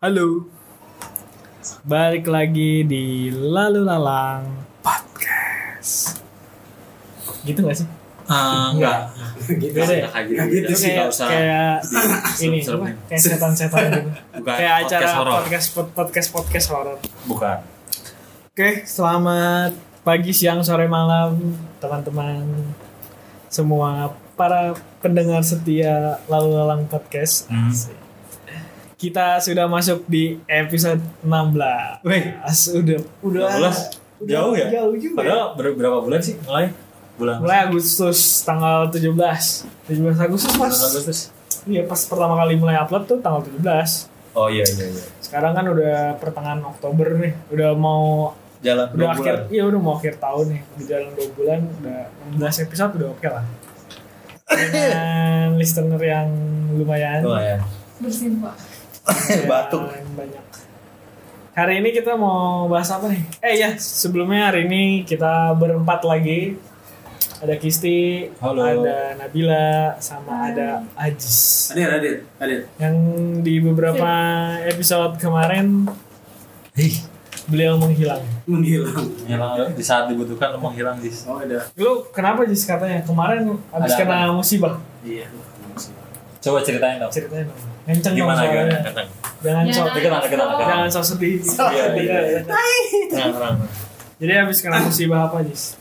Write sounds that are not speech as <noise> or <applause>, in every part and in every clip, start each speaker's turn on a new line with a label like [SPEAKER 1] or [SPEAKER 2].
[SPEAKER 1] Halo, balik lagi di Lalu Lalang Podcast. Gitu gak sih?
[SPEAKER 2] Ah,
[SPEAKER 3] Enggak.
[SPEAKER 2] gitu
[SPEAKER 1] Beda ya?
[SPEAKER 2] enggak kayak
[SPEAKER 3] Nggak
[SPEAKER 2] gitu.
[SPEAKER 3] gitu sih,
[SPEAKER 2] Nggak
[SPEAKER 1] kayak,
[SPEAKER 2] usah.
[SPEAKER 1] kayak ini,
[SPEAKER 2] serem-serem.
[SPEAKER 1] apa? kayak setan-setan gitu.
[SPEAKER 2] Bukan
[SPEAKER 1] kayak
[SPEAKER 2] podcast
[SPEAKER 1] acara
[SPEAKER 2] horor.
[SPEAKER 1] podcast pod- podcast podcast horor.
[SPEAKER 3] Bukan.
[SPEAKER 1] Oke, selamat pagi, siang, sore, malam, teman-teman semua para pendengar setia Lalu Lalang Podcast.
[SPEAKER 3] Hmm.
[SPEAKER 1] Kita sudah masuk di episode 16.
[SPEAKER 3] Wih,
[SPEAKER 1] As, udah udah
[SPEAKER 3] 16?
[SPEAKER 1] udah
[SPEAKER 3] Jauh ya?
[SPEAKER 1] Jauh juga. ya.
[SPEAKER 3] Padahal ber- berapa bulan sih mulai? Bulan
[SPEAKER 1] Mulai Agustus tanggal 17. 17 Agustus
[SPEAKER 3] bulan
[SPEAKER 1] pas.
[SPEAKER 3] Agustus.
[SPEAKER 1] Iya, pas pertama kali mulai upload tuh tanggal 17.
[SPEAKER 3] Oh iya iya iya.
[SPEAKER 1] Sekarang kan udah pertengahan Oktober nih, udah mau
[SPEAKER 3] Jalan
[SPEAKER 1] udah
[SPEAKER 3] dua
[SPEAKER 1] akhir
[SPEAKER 3] bulan.
[SPEAKER 1] iya udah mau akhir tahun nih di dalam dua bulan udah 16 episode udah oke lah
[SPEAKER 3] <laughs>
[SPEAKER 1] dengan listener yang lumayan
[SPEAKER 3] Lumayan.
[SPEAKER 4] bersimpak
[SPEAKER 1] dan
[SPEAKER 3] Batuk.
[SPEAKER 1] banyak hari ini kita mau bahas apa nih eh ya sebelumnya hari ini kita berempat lagi ada Kisti
[SPEAKER 3] Halo.
[SPEAKER 1] ada Nabila sama ada Ajis
[SPEAKER 2] Adit, adit, adit.
[SPEAKER 1] yang di beberapa episode kemarin beliau menghilang
[SPEAKER 2] Menghilang.
[SPEAKER 3] Hilang di saat dibutuhkan emang hilang di.
[SPEAKER 2] Oh, ada.
[SPEAKER 1] lu kenapa Jis katanya kemarin habis
[SPEAKER 3] Ada
[SPEAKER 1] kena musibah
[SPEAKER 2] Iya.
[SPEAKER 3] Coba ceritain dong.
[SPEAKER 1] ceritain dong kenceng dong
[SPEAKER 3] Gimana
[SPEAKER 1] suaranya.
[SPEAKER 3] gimana kencang?
[SPEAKER 1] jangan
[SPEAKER 4] Ya.
[SPEAKER 1] sok
[SPEAKER 3] Kenal kenal kenal.
[SPEAKER 1] jangan sok sedih
[SPEAKER 3] Iya, iya, iya. Tenang tenang.
[SPEAKER 1] jadi habis kena musibah apa Jis?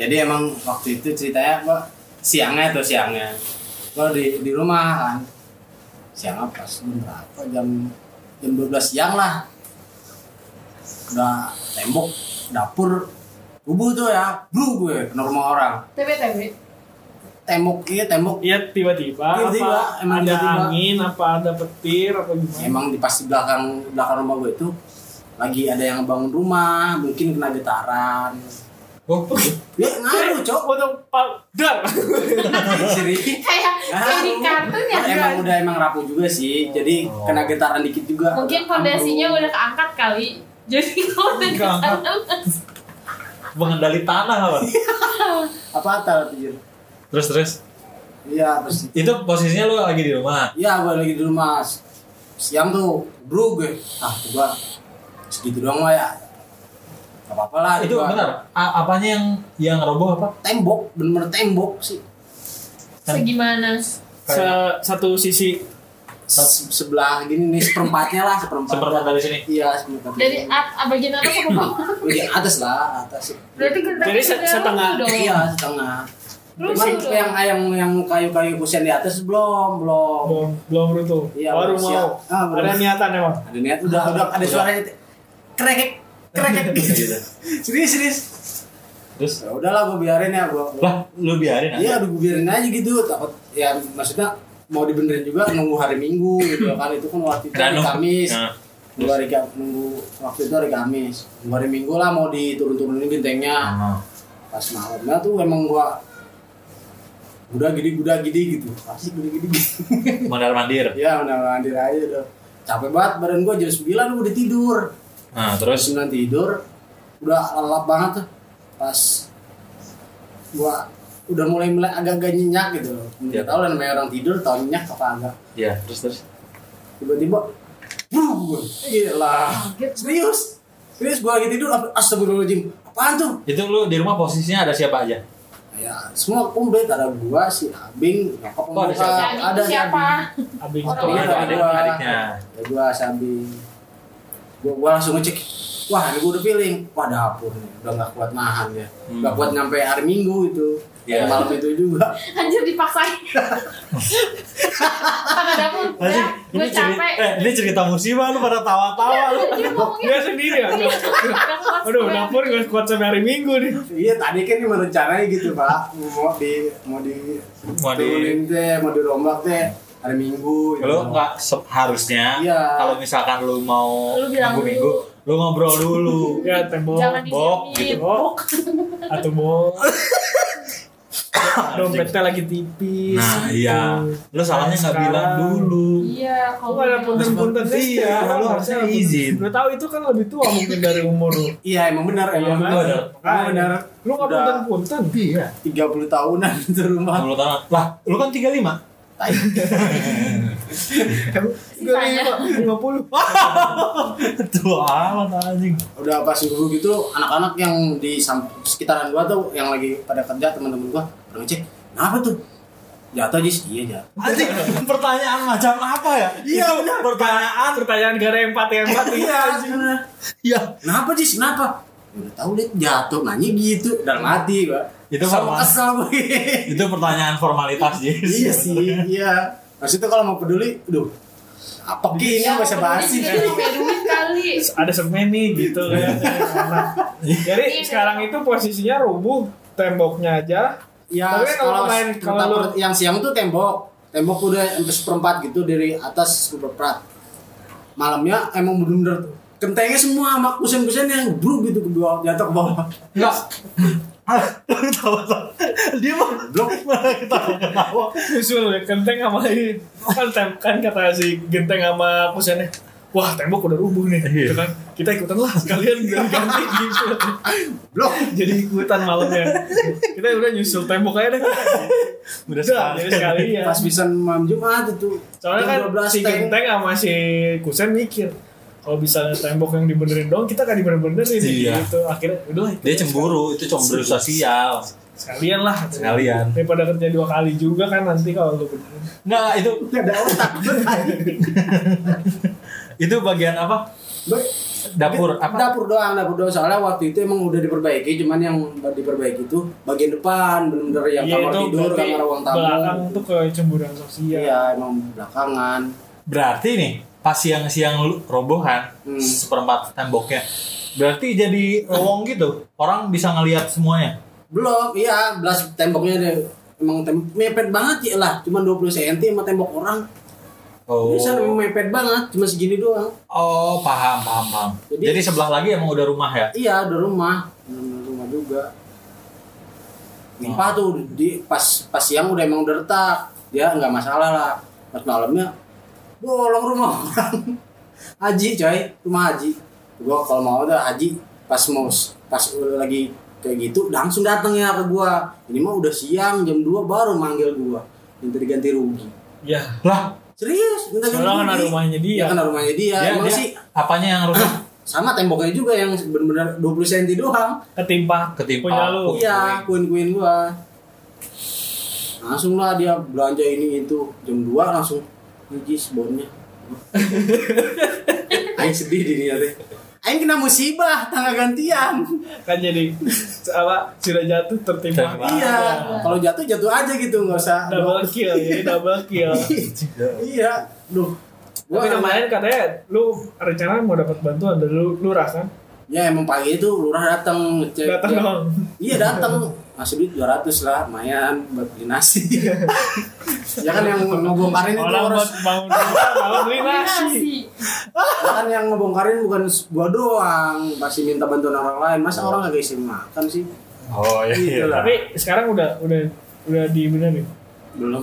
[SPEAKER 2] Jadi emang waktu itu ceritanya gua siangnya tuh siangnya. Gua di di rumah kan. Siang apa? Jam berapa? Jam jam 12 siang lah. Udah tembok dapur rubuh tuh ya. Blu gue kena rumah orang.
[SPEAKER 4] TB TB
[SPEAKER 2] Tembok iya tembok
[SPEAKER 1] iya tiba-tiba
[SPEAKER 2] Tiba-tiba,
[SPEAKER 1] apa
[SPEAKER 2] emang
[SPEAKER 1] ada
[SPEAKER 2] tiba-tiba.
[SPEAKER 1] angin apa ada petir apa
[SPEAKER 2] Ya,
[SPEAKER 1] gimana
[SPEAKER 2] emang di pas di belakang belakang rumah gue itu lagi ada yang bangun rumah mungkin kena getaran
[SPEAKER 3] Oh,
[SPEAKER 2] ya ngaruh cok
[SPEAKER 1] Waduh, Eh, pal- dar
[SPEAKER 2] <laughs> Siri.
[SPEAKER 4] kayak kayak di kartun ya
[SPEAKER 2] Nah, Ah, emang udah emang rapuh juga sih jadi
[SPEAKER 3] Oh.
[SPEAKER 2] kena getaran dikit juga
[SPEAKER 4] mungkin fondasinya
[SPEAKER 2] Ambruk.
[SPEAKER 4] udah keangkat kali jadi <laughs> kalau udah
[SPEAKER 3] Keangkat.
[SPEAKER 4] keangkat
[SPEAKER 3] mengendali tanah apa?
[SPEAKER 2] apa atal tuh Jir?
[SPEAKER 3] Terus terus.
[SPEAKER 2] iya terus
[SPEAKER 3] Itu posisinya lu lagi di rumah.
[SPEAKER 2] iya gue lagi di rumah siang tuh bro gue ah coba segitu doang mah ya gak apa-apa lah
[SPEAKER 3] Ah, Itu
[SPEAKER 2] gua.
[SPEAKER 3] benar. A- apanya yang yang roboh apa?
[SPEAKER 2] tembok bener-bener tembok sih
[SPEAKER 4] segimana
[SPEAKER 1] Se- satu sisi
[SPEAKER 2] Se- sebelah gini nih seperempatnya lah seperempatnya
[SPEAKER 3] Seperempat dari sini.
[SPEAKER 2] iya seperempat
[SPEAKER 4] dari at ah, bagian atas ke bawah
[SPEAKER 2] bagian atas lah atas
[SPEAKER 4] berarti gentengnya
[SPEAKER 1] Jadi se-
[SPEAKER 4] udah
[SPEAKER 1] setengah.
[SPEAKER 4] runtuh dong.
[SPEAKER 2] iya setengah
[SPEAKER 4] Terus
[SPEAKER 2] cuman
[SPEAKER 4] itu?
[SPEAKER 2] yang yang yang kayu-kayu kusen di atas belum belum
[SPEAKER 3] Oh.
[SPEAKER 1] belum belum runtuh
[SPEAKER 2] Iya,
[SPEAKER 1] baru
[SPEAKER 2] belum siap.
[SPEAKER 1] mau
[SPEAKER 2] Ah, belum.
[SPEAKER 1] ada niatan emang
[SPEAKER 2] ada niat udah udah ada
[SPEAKER 3] Udah.
[SPEAKER 2] suaranya krek
[SPEAKER 3] <laughs>
[SPEAKER 2] krek
[SPEAKER 3] Gitu.
[SPEAKER 2] serius serius
[SPEAKER 3] Terus
[SPEAKER 2] ya udahlah gue biarin ya gue
[SPEAKER 3] lah lu biarin aja.
[SPEAKER 2] iya udah gue biarin aja gitu takut ya maksudnya mau dibenerin juga nunggu hari minggu gitu kan itu kan waktu itu
[SPEAKER 3] Dan
[SPEAKER 2] hari
[SPEAKER 3] lu-
[SPEAKER 2] Kamis
[SPEAKER 3] Nah,
[SPEAKER 2] nunggu hari Kam- nunggu waktu itu hari Kamis nunggu hari minggu lah mau diturun-turunin gentengnya
[SPEAKER 3] Ah.
[SPEAKER 2] pas malamnya tuh emang gua udah gini udah gini gitu pasti gini gini <laughs>
[SPEAKER 3] Mandar mandir.
[SPEAKER 2] ya udah mandir aja udah capek banget badan gua jam 9 udah tidur
[SPEAKER 3] Nah
[SPEAKER 2] jam
[SPEAKER 3] terus
[SPEAKER 2] 9 tidur udah lelap banget tuh pas gua udah mulai mulai agak-agak nyenyak gitu loh
[SPEAKER 3] Ya.
[SPEAKER 2] nggak tahu lah namanya orang tidur tau nyenyak apa enggak
[SPEAKER 3] ya terus terus.
[SPEAKER 2] tiba-tiba Wuh, gua, gila
[SPEAKER 4] Kaget.
[SPEAKER 2] serius serius gua lagi tidur astagfirullahaladzim apaan tuh
[SPEAKER 3] Itu lu di rumah posisinya ada siapa aja?
[SPEAKER 2] Ya, semua komplit ada gua si Abing, nyokap
[SPEAKER 3] Oh, ada
[SPEAKER 2] pembuka,
[SPEAKER 3] siapa?
[SPEAKER 4] Jadi itu
[SPEAKER 2] si
[SPEAKER 4] siapa
[SPEAKER 2] Abing.
[SPEAKER 1] abis
[SPEAKER 2] Oh,
[SPEAKER 3] Oh,
[SPEAKER 2] iya,
[SPEAKER 3] ada
[SPEAKER 2] ada
[SPEAKER 3] adik
[SPEAKER 2] gua.
[SPEAKER 3] adiknya.
[SPEAKER 2] Ada gua si Abing. Gua, gua langsung ngecek. Wah, ini gua udah feeling. Wah, dapur nih. Udah gak kuat nahan ya.
[SPEAKER 3] Hmm.
[SPEAKER 2] Gak kuat nyampe hari Minggu itu.
[SPEAKER 3] Iya.
[SPEAKER 2] Dan Malam itu juga.
[SPEAKER 4] <laughs>
[SPEAKER 2] <laughs>
[SPEAKER 4] anjir dipaksain tangan dapur udah gue capek
[SPEAKER 1] eh.
[SPEAKER 3] ini cerita musibah lu pada tawa-tawa lu.
[SPEAKER 4] dia ngomongnya Iya.
[SPEAKER 1] dia sendiri ya
[SPEAKER 4] Udah
[SPEAKER 1] <laughs>
[SPEAKER 4] kelas
[SPEAKER 1] aduh
[SPEAKER 4] gue.
[SPEAKER 1] dapur gak kuat sampai hari minggu nih
[SPEAKER 2] Iya, tadi kan gimana rencananya gitu, Pak. Mau di mau di
[SPEAKER 3] Mau di-
[SPEAKER 2] turunin teh, mau dirombak teh hari Minggu.
[SPEAKER 3] Lu
[SPEAKER 2] gitu.
[SPEAKER 3] nggak se- harusnya
[SPEAKER 2] Iya.
[SPEAKER 3] kalau misalkan lu mau
[SPEAKER 4] Lu bilang
[SPEAKER 3] minggu minggu lu ngobrol dulu.
[SPEAKER 1] ya tembok
[SPEAKER 4] jangan
[SPEAKER 3] Bok,
[SPEAKER 4] dijamin
[SPEAKER 1] bok gitu. atau bok dompetnya lagi tipis
[SPEAKER 3] Nah iya, lu salahnya nggak
[SPEAKER 1] Sekarang.
[SPEAKER 3] bilang dulu.
[SPEAKER 4] iya kalau
[SPEAKER 1] Lu ada
[SPEAKER 4] bilang.
[SPEAKER 1] punten-punten ya?
[SPEAKER 3] Iya, lu harusnya izin.
[SPEAKER 1] Gue tahu itu kan lebih tua mungkin dari umur lu.
[SPEAKER 2] Iya, emang benar,
[SPEAKER 1] Iya,
[SPEAKER 2] emang
[SPEAKER 1] kan?
[SPEAKER 2] benar.
[SPEAKER 1] Makanya.
[SPEAKER 2] Emang benar.
[SPEAKER 1] Lu nggak
[SPEAKER 2] Udah
[SPEAKER 1] punten-punten? Iya.
[SPEAKER 2] 30 tahunan <laughs> itu rumah.
[SPEAKER 3] Lu tahu lah, lu kan 35.
[SPEAKER 2] Tai. Gue
[SPEAKER 4] Sisanya.
[SPEAKER 2] lima puluh.
[SPEAKER 1] Tua amat anjing.
[SPEAKER 2] Udah pas dulu gitu anak-anak yang di sam- sekitaran gua tuh yang lagi pada kerja teman-teman gua udah ngecek. Kenapa tuh? Jatuh aja iya jatuh.
[SPEAKER 3] Anjing, pertanyaan macam apa ya?
[SPEAKER 2] Iya,
[SPEAKER 3] Itu
[SPEAKER 2] benar.
[SPEAKER 3] pertanyaan.
[SPEAKER 1] Ah, Pertanyaan gak ada empat yang empat
[SPEAKER 2] <laughs> Iya,
[SPEAKER 1] anjing.
[SPEAKER 2] bener.
[SPEAKER 3] Iya.
[SPEAKER 2] Kenapa Jis? Kenapa? Ya Udah tahu deh jatuh nanya gitu dalam hati gua.
[SPEAKER 3] Itu
[SPEAKER 2] sama
[SPEAKER 3] sama-
[SPEAKER 2] kesel <laughs> gue.
[SPEAKER 3] Itu pertanyaan formalitas sih.
[SPEAKER 2] iya sih,
[SPEAKER 3] <laughs>
[SPEAKER 2] iya. Maksudnya kalau mau peduli, duh. Apa eh? ki ini bahasa basi?
[SPEAKER 4] Dia juga punya duit kali.
[SPEAKER 1] Ada semen nih gitu kan.
[SPEAKER 2] Iya.
[SPEAKER 1] Jadi
[SPEAKER 4] Iya.
[SPEAKER 1] sekarang itu posisinya rubuh temboknya aja.
[SPEAKER 2] Ya,
[SPEAKER 1] Tapi kan kalau main- kalau
[SPEAKER 2] entah
[SPEAKER 1] lu-
[SPEAKER 2] per- yang siang tuh tembok, tembok udah sampai seperempat gitu dari atas seperempat. Malamnya emang bener-bener kentengnya semua sama kusen-kusen yang bruk gitu ke bawah, jatuh ke bawah.
[SPEAKER 3] Enggak. Ah, <laughs> tahu tahu. Dia mah
[SPEAKER 1] <laughs>
[SPEAKER 2] Blok.
[SPEAKER 3] malah ketawa-ketawa.
[SPEAKER 1] Usul ya, genteng sama ini. Kan, tem- kan kata si genteng sama kusennya. Wah tembok udah rubuh nih. Gitu
[SPEAKER 2] Iya.
[SPEAKER 1] kan. Kita ikutan lah sekalian biar ganti gitu.
[SPEAKER 2] Blok.
[SPEAKER 1] Jadi ikutan malamnya. Kita udah nyusul tembok aja deh.
[SPEAKER 3] Udah
[SPEAKER 1] Udah, ya. jadi sekalian.
[SPEAKER 2] Pas bisa malam Jumat itu.
[SPEAKER 1] Iya. Soalnya
[SPEAKER 2] jam
[SPEAKER 1] kan
[SPEAKER 2] 12
[SPEAKER 1] si
[SPEAKER 2] tank.
[SPEAKER 1] Genteng sama si Kusen mikir kalau misalnya tembok yang dibenerin dong kita kan dibener-benerin
[SPEAKER 3] Iya.
[SPEAKER 1] gitu akhirnya udah
[SPEAKER 3] Dia cemburu, itu cemburu sosial.
[SPEAKER 1] sekalian lah gitu.
[SPEAKER 3] Sekalian.
[SPEAKER 1] daripada kerja dua kali juga kan nanti kalau lu benerin
[SPEAKER 3] Enggak, itu
[SPEAKER 2] ada otak.
[SPEAKER 3] itu bagian apa? Dapur apa?
[SPEAKER 2] Dapur doang, dapur doang. Soalnya waktu itu emang udah diperbaiki, cuman yang diperbaiki itu bagian depan, belum dari yang Iya, kamar tidur,
[SPEAKER 1] Iya, berarti
[SPEAKER 2] kamar ruang tamu.
[SPEAKER 1] belakang tuh kecemburuan sosial
[SPEAKER 2] Iya, emang belakangan.
[SPEAKER 3] Berarti nih pas siang-siang lu- robohan
[SPEAKER 2] Hmm.
[SPEAKER 3] seperempat temboknya. Berarti jadi lowong gitu. Orang bisa ngelihat semuanya.
[SPEAKER 2] Belum, iya, belas temboknya deh. Emang tem mepet banget ya lah, cuma 20 cm sama tembok orang.
[SPEAKER 3] Oh.
[SPEAKER 2] Bisa emang mepet banget, cuma segini doang.
[SPEAKER 3] Oh, paham, paham, paham.
[SPEAKER 2] Jadi-
[SPEAKER 3] Jadi, sebelah lagi emang udah rumah ya.
[SPEAKER 2] Iya, ada rumah, bener-bener rumah juga. Nyimpah tuh di pas pas siang udah emang udah retak, dia nggak masalah lah. Pas malamnya bolong rumah orang. <laughs> Haji coy, rumah Haji. Gua kalau mau udah Haji pas mau pas lagi kayak gitu langsung datang ya ke gua. Ini mah udah siang jam 2 baru manggil gua. Minta diganti rugi.
[SPEAKER 1] ya
[SPEAKER 3] Lah,
[SPEAKER 2] Serius, minta ganti
[SPEAKER 1] soalnya kan ada
[SPEAKER 2] rugi.
[SPEAKER 1] rumahnya
[SPEAKER 2] Iya
[SPEAKER 1] dia
[SPEAKER 2] kan ada rumahnya dia.
[SPEAKER 3] dia,
[SPEAKER 2] emang
[SPEAKER 3] dia
[SPEAKER 2] sih
[SPEAKER 3] apanya yang
[SPEAKER 2] <laughs>
[SPEAKER 3] rusak?
[SPEAKER 2] sama temboknya juga yang benar-benar 20 cm doang.
[SPEAKER 1] ketimpa
[SPEAKER 3] Ketimpa.
[SPEAKER 1] punya lu
[SPEAKER 2] Iya, kuin-kuin gua. Langsung lah dia belanja ini itu jam 2 langsung ngijis bonnya.
[SPEAKER 1] <laughs>
[SPEAKER 2] Aing sedih di dia deh. Aing kena musibah tanggal gantian.
[SPEAKER 1] kan jadi apa sudah jatuh tertimpa
[SPEAKER 3] Tertimpa.
[SPEAKER 2] iya, kalau jatuh jatuh aja gitu nggak usah.
[SPEAKER 1] double kill jadi double
[SPEAKER 2] <laughs>
[SPEAKER 1] kill
[SPEAKER 2] iya, duh. Gua
[SPEAKER 1] tapi kemarin katanya lu rencana mau dapat bantuan dari lu lurah kan
[SPEAKER 2] Ya emang pagi itu lurah datang ngecek.
[SPEAKER 1] datang
[SPEAKER 2] Ya,
[SPEAKER 1] dong
[SPEAKER 2] Iya datang. Ngasih duit 200 lah, lumayan buat beli nasi. <laughs> ya kan yang ngebongkarin itu
[SPEAKER 1] orang
[SPEAKER 2] harus
[SPEAKER 1] buat bangun rumah malah beli nasi
[SPEAKER 4] Nasi.
[SPEAKER 2] kan yang ngebongkarin bukan gua doang pasti minta bantuan orang lain masa orang gak kasih makan sih
[SPEAKER 3] <laughs> Oh iya.
[SPEAKER 2] Gitu lah.
[SPEAKER 1] tapi sekarang udah udah udah dibenerin
[SPEAKER 2] belum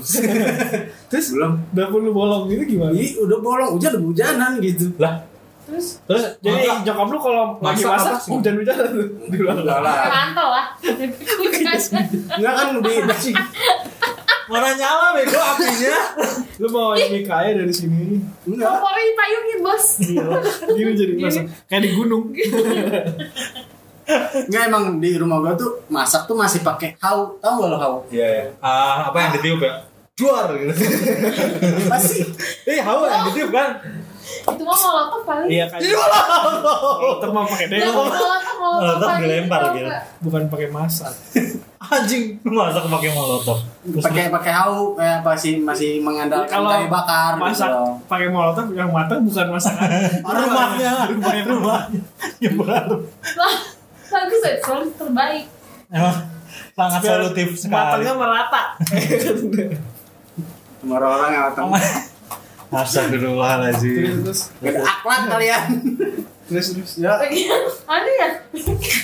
[SPEAKER 1] terus
[SPEAKER 2] belum
[SPEAKER 1] dapur lu bolong gitu gimana
[SPEAKER 2] <laughs> Ih, udah bolong hujan udah hujanan gitu
[SPEAKER 3] Lah,
[SPEAKER 4] Terus
[SPEAKER 3] terus
[SPEAKER 1] jadi
[SPEAKER 3] jadi
[SPEAKER 1] nyokap lu kalau lagi
[SPEAKER 3] Masak
[SPEAKER 1] masak
[SPEAKER 3] apa sih?
[SPEAKER 1] hujan hujan tuh di luar
[SPEAKER 2] enggak lah
[SPEAKER 4] Rantau lah. Enggak
[SPEAKER 2] enggak kan di dasi
[SPEAKER 3] mana nyala bego apinya?
[SPEAKER 1] lu mau ini kaya dari sini
[SPEAKER 2] enggak
[SPEAKER 4] Kompornya dipayungin bos.
[SPEAKER 1] gila gini jadi masak kayak di gunung
[SPEAKER 2] enggak emang di rumah gua tuh masak tuh masih pakai hau tau gak lo hau
[SPEAKER 3] Iya ya. Ah, apa yang ditiup ya? Duar gitu.
[SPEAKER 2] pasti
[SPEAKER 3] Eh, hawa yang ditiup kan?
[SPEAKER 4] Itu mah molotov paling.
[SPEAKER 1] iya kan jadi mau pakai
[SPEAKER 4] Nah,
[SPEAKER 1] deo
[SPEAKER 4] molotov molotov.
[SPEAKER 3] iya. Molotov
[SPEAKER 4] paling,
[SPEAKER 3] dilempar, gitu.
[SPEAKER 4] tau
[SPEAKER 3] gila.
[SPEAKER 4] nggak?
[SPEAKER 1] bukan pakai masak
[SPEAKER 3] Anjing, lu masak pakai molotov.
[SPEAKER 2] pakai pakai hau eh, masih masih mengandalkan
[SPEAKER 1] Kalau
[SPEAKER 2] kayu bakar
[SPEAKER 1] masak
[SPEAKER 2] gitu
[SPEAKER 1] pakai molotov yang matang bukan masakan
[SPEAKER 2] Orang
[SPEAKER 3] Rumahnya, rumahnya, rumahnya. Ya baru.
[SPEAKER 4] Lah, bagus ya, selalu terbaik.
[SPEAKER 3] Emang sangat
[SPEAKER 1] Biar
[SPEAKER 3] solutif sekali.
[SPEAKER 1] matangnya merata
[SPEAKER 2] sama orang-orang yang datang
[SPEAKER 1] terus
[SPEAKER 3] Astagfirullahaladzim.
[SPEAKER 1] terus
[SPEAKER 2] Gak ada akhlak kalian
[SPEAKER 1] terus terus
[SPEAKER 2] ya
[SPEAKER 4] Ada ya?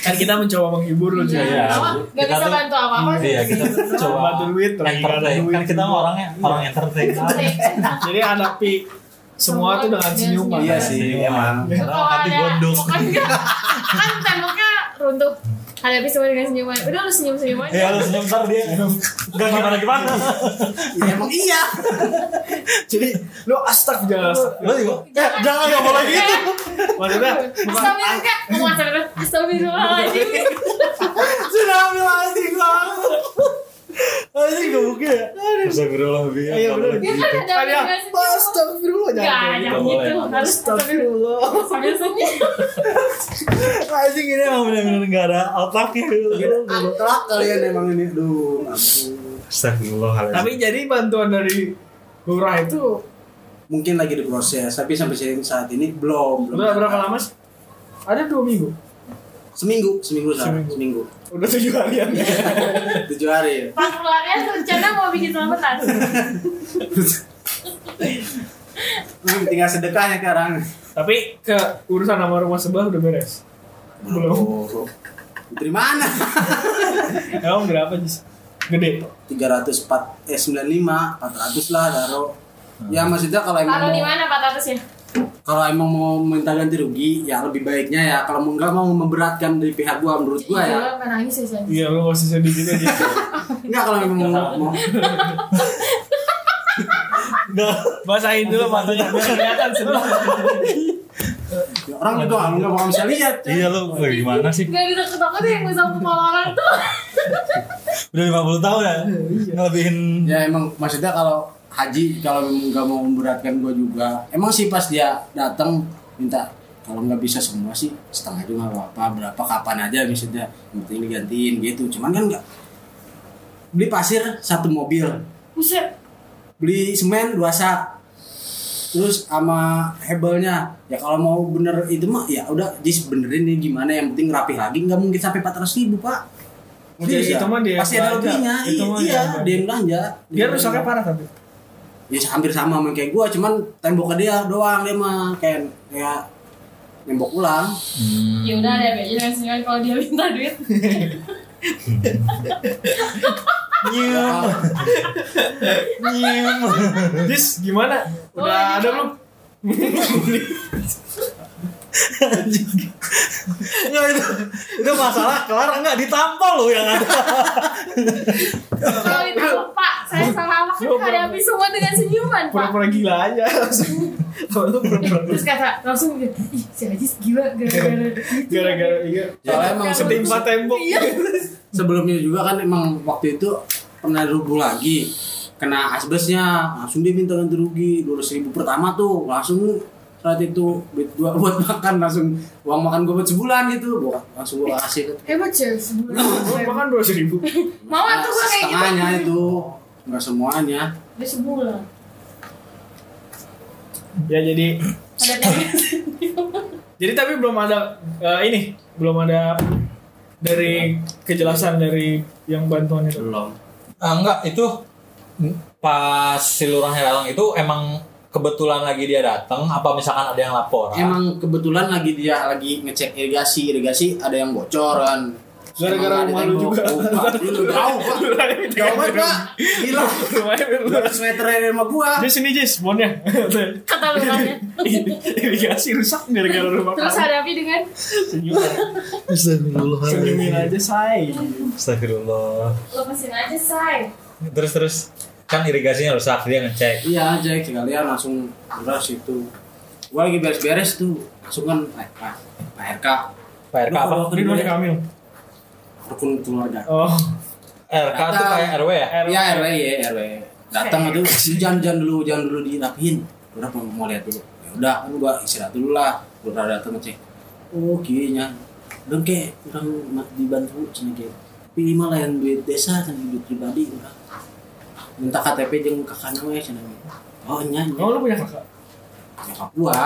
[SPEAKER 1] kan kita mencoba menghibur ya. lu
[SPEAKER 4] Iya,
[SPEAKER 1] juga
[SPEAKER 3] iya.
[SPEAKER 4] apa? Gak
[SPEAKER 3] Kita
[SPEAKER 4] bisa
[SPEAKER 3] tuh-
[SPEAKER 4] bantu apa-apa
[SPEAKER 3] Iya, kita coba
[SPEAKER 1] Bantu duit, lagi nggak ada
[SPEAKER 3] entertain.
[SPEAKER 1] duit.
[SPEAKER 3] Kan kita orangnya orang entertain.
[SPEAKER 4] Iya.
[SPEAKER 3] Iya,
[SPEAKER 1] jadi hadapi semua tuh dengan senyuman
[SPEAKER 2] iya sih emang
[SPEAKER 3] Karena
[SPEAKER 4] Kalau
[SPEAKER 3] hati
[SPEAKER 4] ada
[SPEAKER 3] gondok.
[SPEAKER 4] Pokoknya kan temboknya runtuh Hadapi semua dengan senyuman. Udah lu senyum-senyum aja.
[SPEAKER 3] Ya lu senyum ntar dia Gak gimana-gimana
[SPEAKER 2] Ya, emang iya.
[SPEAKER 1] Jadi lu astagfirullah.
[SPEAKER 3] Lu juga Eh jangan gak boleh gitu
[SPEAKER 1] Maksudnya bukan
[SPEAKER 4] Iya. Astagfirullah kak, mau astagfirullah, astagfirullahaladzim.
[SPEAKER 3] gitu. Sudah ambil hati gua Anjing gak mungkin ya Astagfirullah biar
[SPEAKER 1] Iya,
[SPEAKER 3] nggak
[SPEAKER 1] bener.
[SPEAKER 3] boleh
[SPEAKER 4] Ya kan ada
[SPEAKER 1] Ada
[SPEAKER 4] dengan senyum.
[SPEAKER 1] astagfirullah
[SPEAKER 4] Gak
[SPEAKER 1] jangan.
[SPEAKER 4] ada
[SPEAKER 1] kayak gitu.
[SPEAKER 4] gitu, harus astagfirullah.
[SPEAKER 1] Astagfirullah.
[SPEAKER 4] Sambil senyum.
[SPEAKER 3] Anjing ini emang bener-bener gak ada otaknya
[SPEAKER 2] Telah kalian emang ini. Duh, ampun.
[SPEAKER 3] Astagfirullahaladzim
[SPEAKER 1] Tapi jadi bantuan dari lurah itu
[SPEAKER 2] Mungkin lagi diproses, tapi sampai saat ini belum. belum
[SPEAKER 1] berapa, berapa lama sih? Ada dua minggu.
[SPEAKER 2] Seminggu, seminggu sekarang,
[SPEAKER 1] Seminggu.
[SPEAKER 2] seminggu.
[SPEAKER 1] Udah tujuh ya. harian.
[SPEAKER 2] Tujuh hari ya.
[SPEAKER 4] Pas keluarnya rencana mau bikin selamatan.
[SPEAKER 2] Hmm, tinggal sedekahnya sekarang.
[SPEAKER 1] Tapi ke urusan sama rumah sebelah udah beres. Belum.
[SPEAKER 2] Oh, Dari mana?
[SPEAKER 1] Emang berapa sih? Gede.
[SPEAKER 2] 304 eh 95, 400 lah taruh.
[SPEAKER 1] Hmm.
[SPEAKER 2] Ya maksudnya kalau emang
[SPEAKER 4] Taruh di
[SPEAKER 2] mau-
[SPEAKER 4] mana 400 ya?
[SPEAKER 2] kalau emang mau minta ganti rugi ya lebih baiknya ya kalau mau enggak mau memberatkan dari pihak gua menurut gua ya.
[SPEAKER 4] Iya, menangis ya saya.
[SPEAKER 1] Iya, lu masih sedih gitu aja.
[SPEAKER 2] Enggak kalau memang mau, mau
[SPEAKER 3] Gak
[SPEAKER 1] Basahin dulu matanya biar kelihatan sedih.
[SPEAKER 2] ya, orang itu nggak enggak bakal bisa lihat. ya.
[SPEAKER 3] Iya lu gimana sih
[SPEAKER 4] Gak gitu ketakutan yang bisa kepala orang tuh.
[SPEAKER 3] Udah 50 tahun ya Ngelebihin
[SPEAKER 2] Ya emang maksudnya kalau haji kalau memang nggak mau memberatkan gua juga. Emang sih pas dia datang minta kalau nggak bisa semua sih setengah juga nggak apa-apa berapa kapan aja maksudnya yang penting digantiin gitu cuman kan nggak beli pasir satu mobil
[SPEAKER 4] Buset.
[SPEAKER 2] beli semen dua sak terus sama hebelnya ya kalau mau bener itu mah ya udah jis benerin nih gimana yang penting rapi lagi nggak mungkin sampai 400 ribu pak
[SPEAKER 1] Jadi Iya,
[SPEAKER 2] Serius ya?
[SPEAKER 1] itu mah dia
[SPEAKER 2] pasti ada
[SPEAKER 1] belanja.
[SPEAKER 2] lebihnya
[SPEAKER 1] Itu mah
[SPEAKER 2] iya
[SPEAKER 1] dia
[SPEAKER 2] dia yang belanja
[SPEAKER 1] Dia rusaknya parah tapi.
[SPEAKER 2] ya hampir sama sama kayak gua cuman temboknya dia doang dia mah kayak kayak tembok ulang
[SPEAKER 4] <laughs> Ya udah deh, bikin dengan senyuman kalau dia minta duit.
[SPEAKER 3] Nyium Nyium
[SPEAKER 1] Dis, gimana? Udah
[SPEAKER 4] Oh,
[SPEAKER 1] ada
[SPEAKER 4] iya.
[SPEAKER 1] belum?
[SPEAKER 3] Enggak itu Itu masalah kelar enggak ditampol lu ya kan? yang ada
[SPEAKER 4] Kalau ditangkap Pak, saya salah makan
[SPEAKER 1] Lu-
[SPEAKER 4] hadapi semua dengan senyuman Pak. Eh,
[SPEAKER 1] Pura-pura gila aja langsung. Kalau lu pura-pura
[SPEAKER 4] Terus kata langsung gitu, ih si Ajis gila gara-gara
[SPEAKER 1] gara-gara iya.
[SPEAKER 2] soalnya emang
[SPEAKER 1] Setimpa tembok.
[SPEAKER 4] Iya.
[SPEAKER 2] sebelumnya juga kan emang waktu itu pernah rubuh lagi kena asbesnya langsung dia minta ganti rugi dua ribu pertama tuh langsung saat itu duit gua buat makan langsung uang makan gua buat sebulan gitu gua langsung gua kasih
[SPEAKER 4] Hebat cewek sebulan.
[SPEAKER 1] Gua makan dua ribu.
[SPEAKER 4] Mau tuh gua kayak gitu.
[SPEAKER 2] setengahnya itu nggak semuanya
[SPEAKER 4] Dia sebulan.
[SPEAKER 1] Ya jadi
[SPEAKER 4] Ada tiga.
[SPEAKER 1] Jadi tapi belum ada eh, ini, belum ada dari kejelasan dari yang bantuan itu.
[SPEAKER 2] belum
[SPEAKER 3] Ah, enggak itu pas si lurah Herlang itu emang kebetulan lagi dia datang apa misalkan ada yang lapor
[SPEAKER 2] emang kebetulan lagi dia lagi ngecek irigasi irigasi ada yang bocoran
[SPEAKER 1] Gara-gara rumah lu juga.
[SPEAKER 2] Jauh, Pak. Jauh,
[SPEAKER 1] <laughs>
[SPEAKER 2] Pak. Jauh banget, Pak. Gila.
[SPEAKER 1] Lumayan biar lu-
[SPEAKER 2] 200 meter dari rumah gua.
[SPEAKER 1] Jis ini Jis, bonnya.
[SPEAKER 4] Kata lu tanya.
[SPEAKER 1] <laughs> Irigasi rusak gara-gara rumah
[SPEAKER 4] Terus
[SPEAKER 1] kamu.
[SPEAKER 4] hadapi dengan
[SPEAKER 1] Senyumin. Senyumin
[SPEAKER 3] Astagfirullah
[SPEAKER 1] aja say.
[SPEAKER 3] Astagfirullah
[SPEAKER 4] lepasin aja say.
[SPEAKER 3] terus terus kan irigasinya rusak dia ngecek
[SPEAKER 2] Iya Jack sekalian langsung beras itu Gua lagi beres-beres tuh Langsung kan Pak RK Pak RK
[SPEAKER 3] Pak RK apa
[SPEAKER 1] Ini dua Kamil.
[SPEAKER 2] Rukun keluarga
[SPEAKER 1] Oh,
[SPEAKER 3] RK tuh kayak RW ya
[SPEAKER 1] RW.
[SPEAKER 2] Iya RW ya RW Datang itu Jangan jangan dulu Jangan dulu dirapihin Udah mau, mau lihat dulu ya udah kan gua istirahat dulu lah Gua datang ngecek Oh kayaknya Udah kek Orang ma- dibantu Cina kek Pilih malah yang duit desa Yang duit pribadi Udah Minta KTP jeung kakaknya we Cina kek. Oh nyanyi
[SPEAKER 1] Kamu lu punya kakak?
[SPEAKER 2] Nyokap gua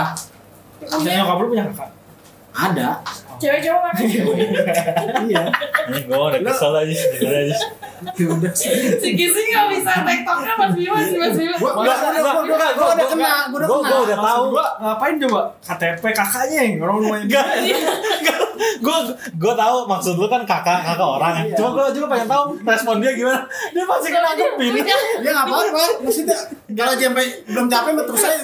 [SPEAKER 1] Saya nyokap lu punya kakak?
[SPEAKER 2] Ada
[SPEAKER 4] Cewek cowok mana?
[SPEAKER 2] Iya
[SPEAKER 3] ini gue udah kesel aja sebenarnya aja
[SPEAKER 2] Ya udah sih
[SPEAKER 4] Si Kisi gak bisa tektoknya Mas Bima sih Mas Bima.
[SPEAKER 2] gua gua udah gua udah kena gua udah kena gua udah
[SPEAKER 3] gue
[SPEAKER 2] kena
[SPEAKER 3] udah tahu
[SPEAKER 1] Maksud gua ngapain coba KTP kakaknya yang orang rumahnya
[SPEAKER 3] Enggak. gue gue tahu maksud lu kan kakak kakak orang ya.
[SPEAKER 2] Iya.
[SPEAKER 3] Cuma gue juga pengen tahu respon dia gimana. Dia pasti kan nanggepin.
[SPEAKER 2] Dia nggak apa-apa, maksudnya kalau dia sampai belum capek mah terus aja.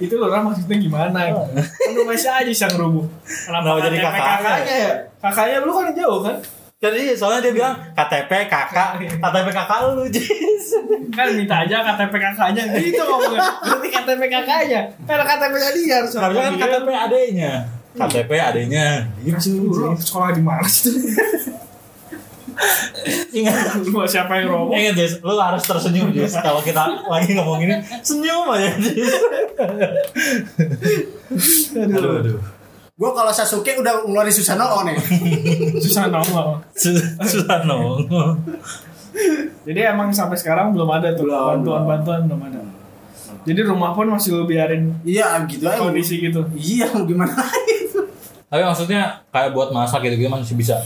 [SPEAKER 1] itu lo orang maksudnya gimana? Kan lu masih aja sang rubuh. Kenapa
[SPEAKER 3] Kenapa jadi
[SPEAKER 1] KTP
[SPEAKER 3] kakaknya?
[SPEAKER 1] kakaknya ya? Kakaknya lu kan yang jauh kan?
[SPEAKER 3] Jadi soalnya dia bilang KTP kakak, KTP kakak lu Jis.
[SPEAKER 1] Kan minta aja KTP kakaknya gitu ngomongnya. Berarti KTP kakaknya. Kan Karena KTP nya dia harus
[SPEAKER 3] Harusnya
[SPEAKER 2] Iya.
[SPEAKER 3] kan KTP adenya. KTP adenya.
[SPEAKER 1] Gitu. Lu sekolah di mana sih?
[SPEAKER 3] Ingat.
[SPEAKER 1] Lu siapa yang roboh?
[SPEAKER 3] Ingat Jis, lu harus tersenyum Jis. Kalau kita lagi ngomong ini, senyum aja Jis. aduh, aduh.
[SPEAKER 2] Gue kalau Sasuke udah ngeluarin Susanoo nih.
[SPEAKER 1] Susah nongol.
[SPEAKER 3] Sus- Susah nongol.
[SPEAKER 1] Jadi emang sampai sekarang belum ada tuh
[SPEAKER 2] Belum,
[SPEAKER 1] bantuan-bantuan belum ada. Jadi rumah pun masih lu biarin
[SPEAKER 2] Iya gitu aja.
[SPEAKER 1] kondisi gitu.
[SPEAKER 2] Iya mau gimana <laughs> lagi?
[SPEAKER 3] Tapi maksudnya kayak buat masak gitu-gitu masih bisa.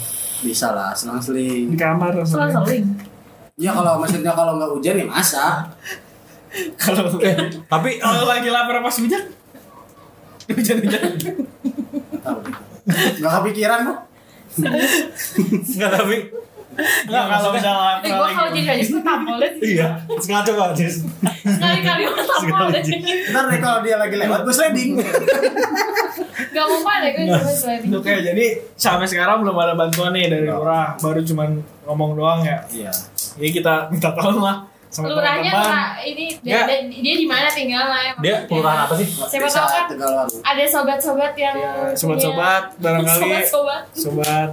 [SPEAKER 2] Bisa lah, selang
[SPEAKER 1] Di
[SPEAKER 2] seling.
[SPEAKER 1] kamar
[SPEAKER 4] Selang
[SPEAKER 1] rasanya.
[SPEAKER 4] seling.
[SPEAKER 2] Ya kalau maksudnya kalau nggak hujan ya masak.
[SPEAKER 1] Kalau
[SPEAKER 3] Eh, tapi <laughs>
[SPEAKER 1] kalau lagi lapar pas hujan hujan-hujan
[SPEAKER 2] Tahu. Nggak kepikiran kok.
[SPEAKER 3] enggak tapi
[SPEAKER 1] Enggak Iya, kalau
[SPEAKER 3] maksudnya-
[SPEAKER 1] udah
[SPEAKER 4] Eh,
[SPEAKER 1] lapar
[SPEAKER 4] gua
[SPEAKER 1] lagi.
[SPEAKER 4] kalau jadi aja gue tampolin.
[SPEAKER 3] Iya, sengaja Pak Jis.
[SPEAKER 4] Kali-kali gue tampolin.
[SPEAKER 2] Ntar deh kalau dia lagi lewat gue sliding.
[SPEAKER 4] Gak mau pada gue cuma sliding.
[SPEAKER 1] Oke, jadi sampai sekarang belum ada bantuan nih dari
[SPEAKER 2] Belum.
[SPEAKER 1] lurah, baru cuman ngomong doang ya.
[SPEAKER 2] Iya.
[SPEAKER 1] Jadi kita minta tolong lah sama
[SPEAKER 4] Lurahnya
[SPEAKER 1] teman-teman.
[SPEAKER 4] lurah ini
[SPEAKER 1] Nggak.
[SPEAKER 4] dia, dia, dia di mana tinggal lah emang.
[SPEAKER 3] Dia kelurahan apa sih?
[SPEAKER 4] Siapa tahu kan?
[SPEAKER 2] Tegalwaru.
[SPEAKER 4] Ada sobat-sobat yang
[SPEAKER 1] Ya, sobat-sobat barangkali
[SPEAKER 4] sobat
[SPEAKER 1] sobat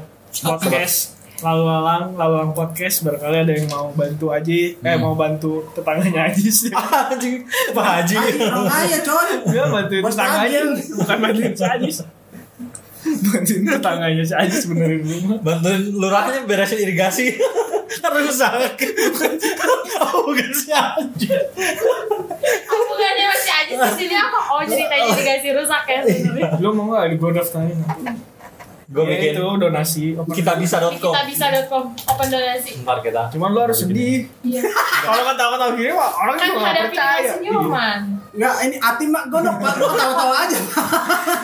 [SPEAKER 1] podcast lalu lalang lalu lalang podcast barangkali ada yang mau bantu aja eh mau bantu tetangganya aja
[SPEAKER 3] <laughs>
[SPEAKER 1] sih
[SPEAKER 3] Haji, Pak Haji.
[SPEAKER 2] Ay, orang kaya coy.
[SPEAKER 1] dia bantuin
[SPEAKER 2] Bos
[SPEAKER 1] tetangganya
[SPEAKER 2] Adil.
[SPEAKER 1] bukan bantuin si Ajis bantuin tetangganya si Ajis benerin rumah
[SPEAKER 3] Bantuin lurahnya beresin irigasi. <laughs> Rusak. oh, bukan si Haji.
[SPEAKER 4] Bukannya masih aja di sini apa? Oh ceritanya dikasih rusak ya sebenarnya.
[SPEAKER 1] lo mau nggak gue daftarin Ya,
[SPEAKER 3] Gue
[SPEAKER 1] itu
[SPEAKER 3] bikin
[SPEAKER 1] donasi open.
[SPEAKER 3] kita
[SPEAKER 4] Kita
[SPEAKER 3] bisa.com.
[SPEAKER 4] bisa.com open donasi.
[SPEAKER 3] Ntar kita.
[SPEAKER 1] cuman lo harus sedih
[SPEAKER 4] Iya.
[SPEAKER 1] kalau ketawa-ketawa gini mah orang
[SPEAKER 4] Kan
[SPEAKER 1] juga nggak
[SPEAKER 4] hadapi dengan
[SPEAKER 1] percaya Iya.
[SPEAKER 4] senyuman.
[SPEAKER 2] Nggak, ini hati mak gondok pak. Lu tahu-tahu aja.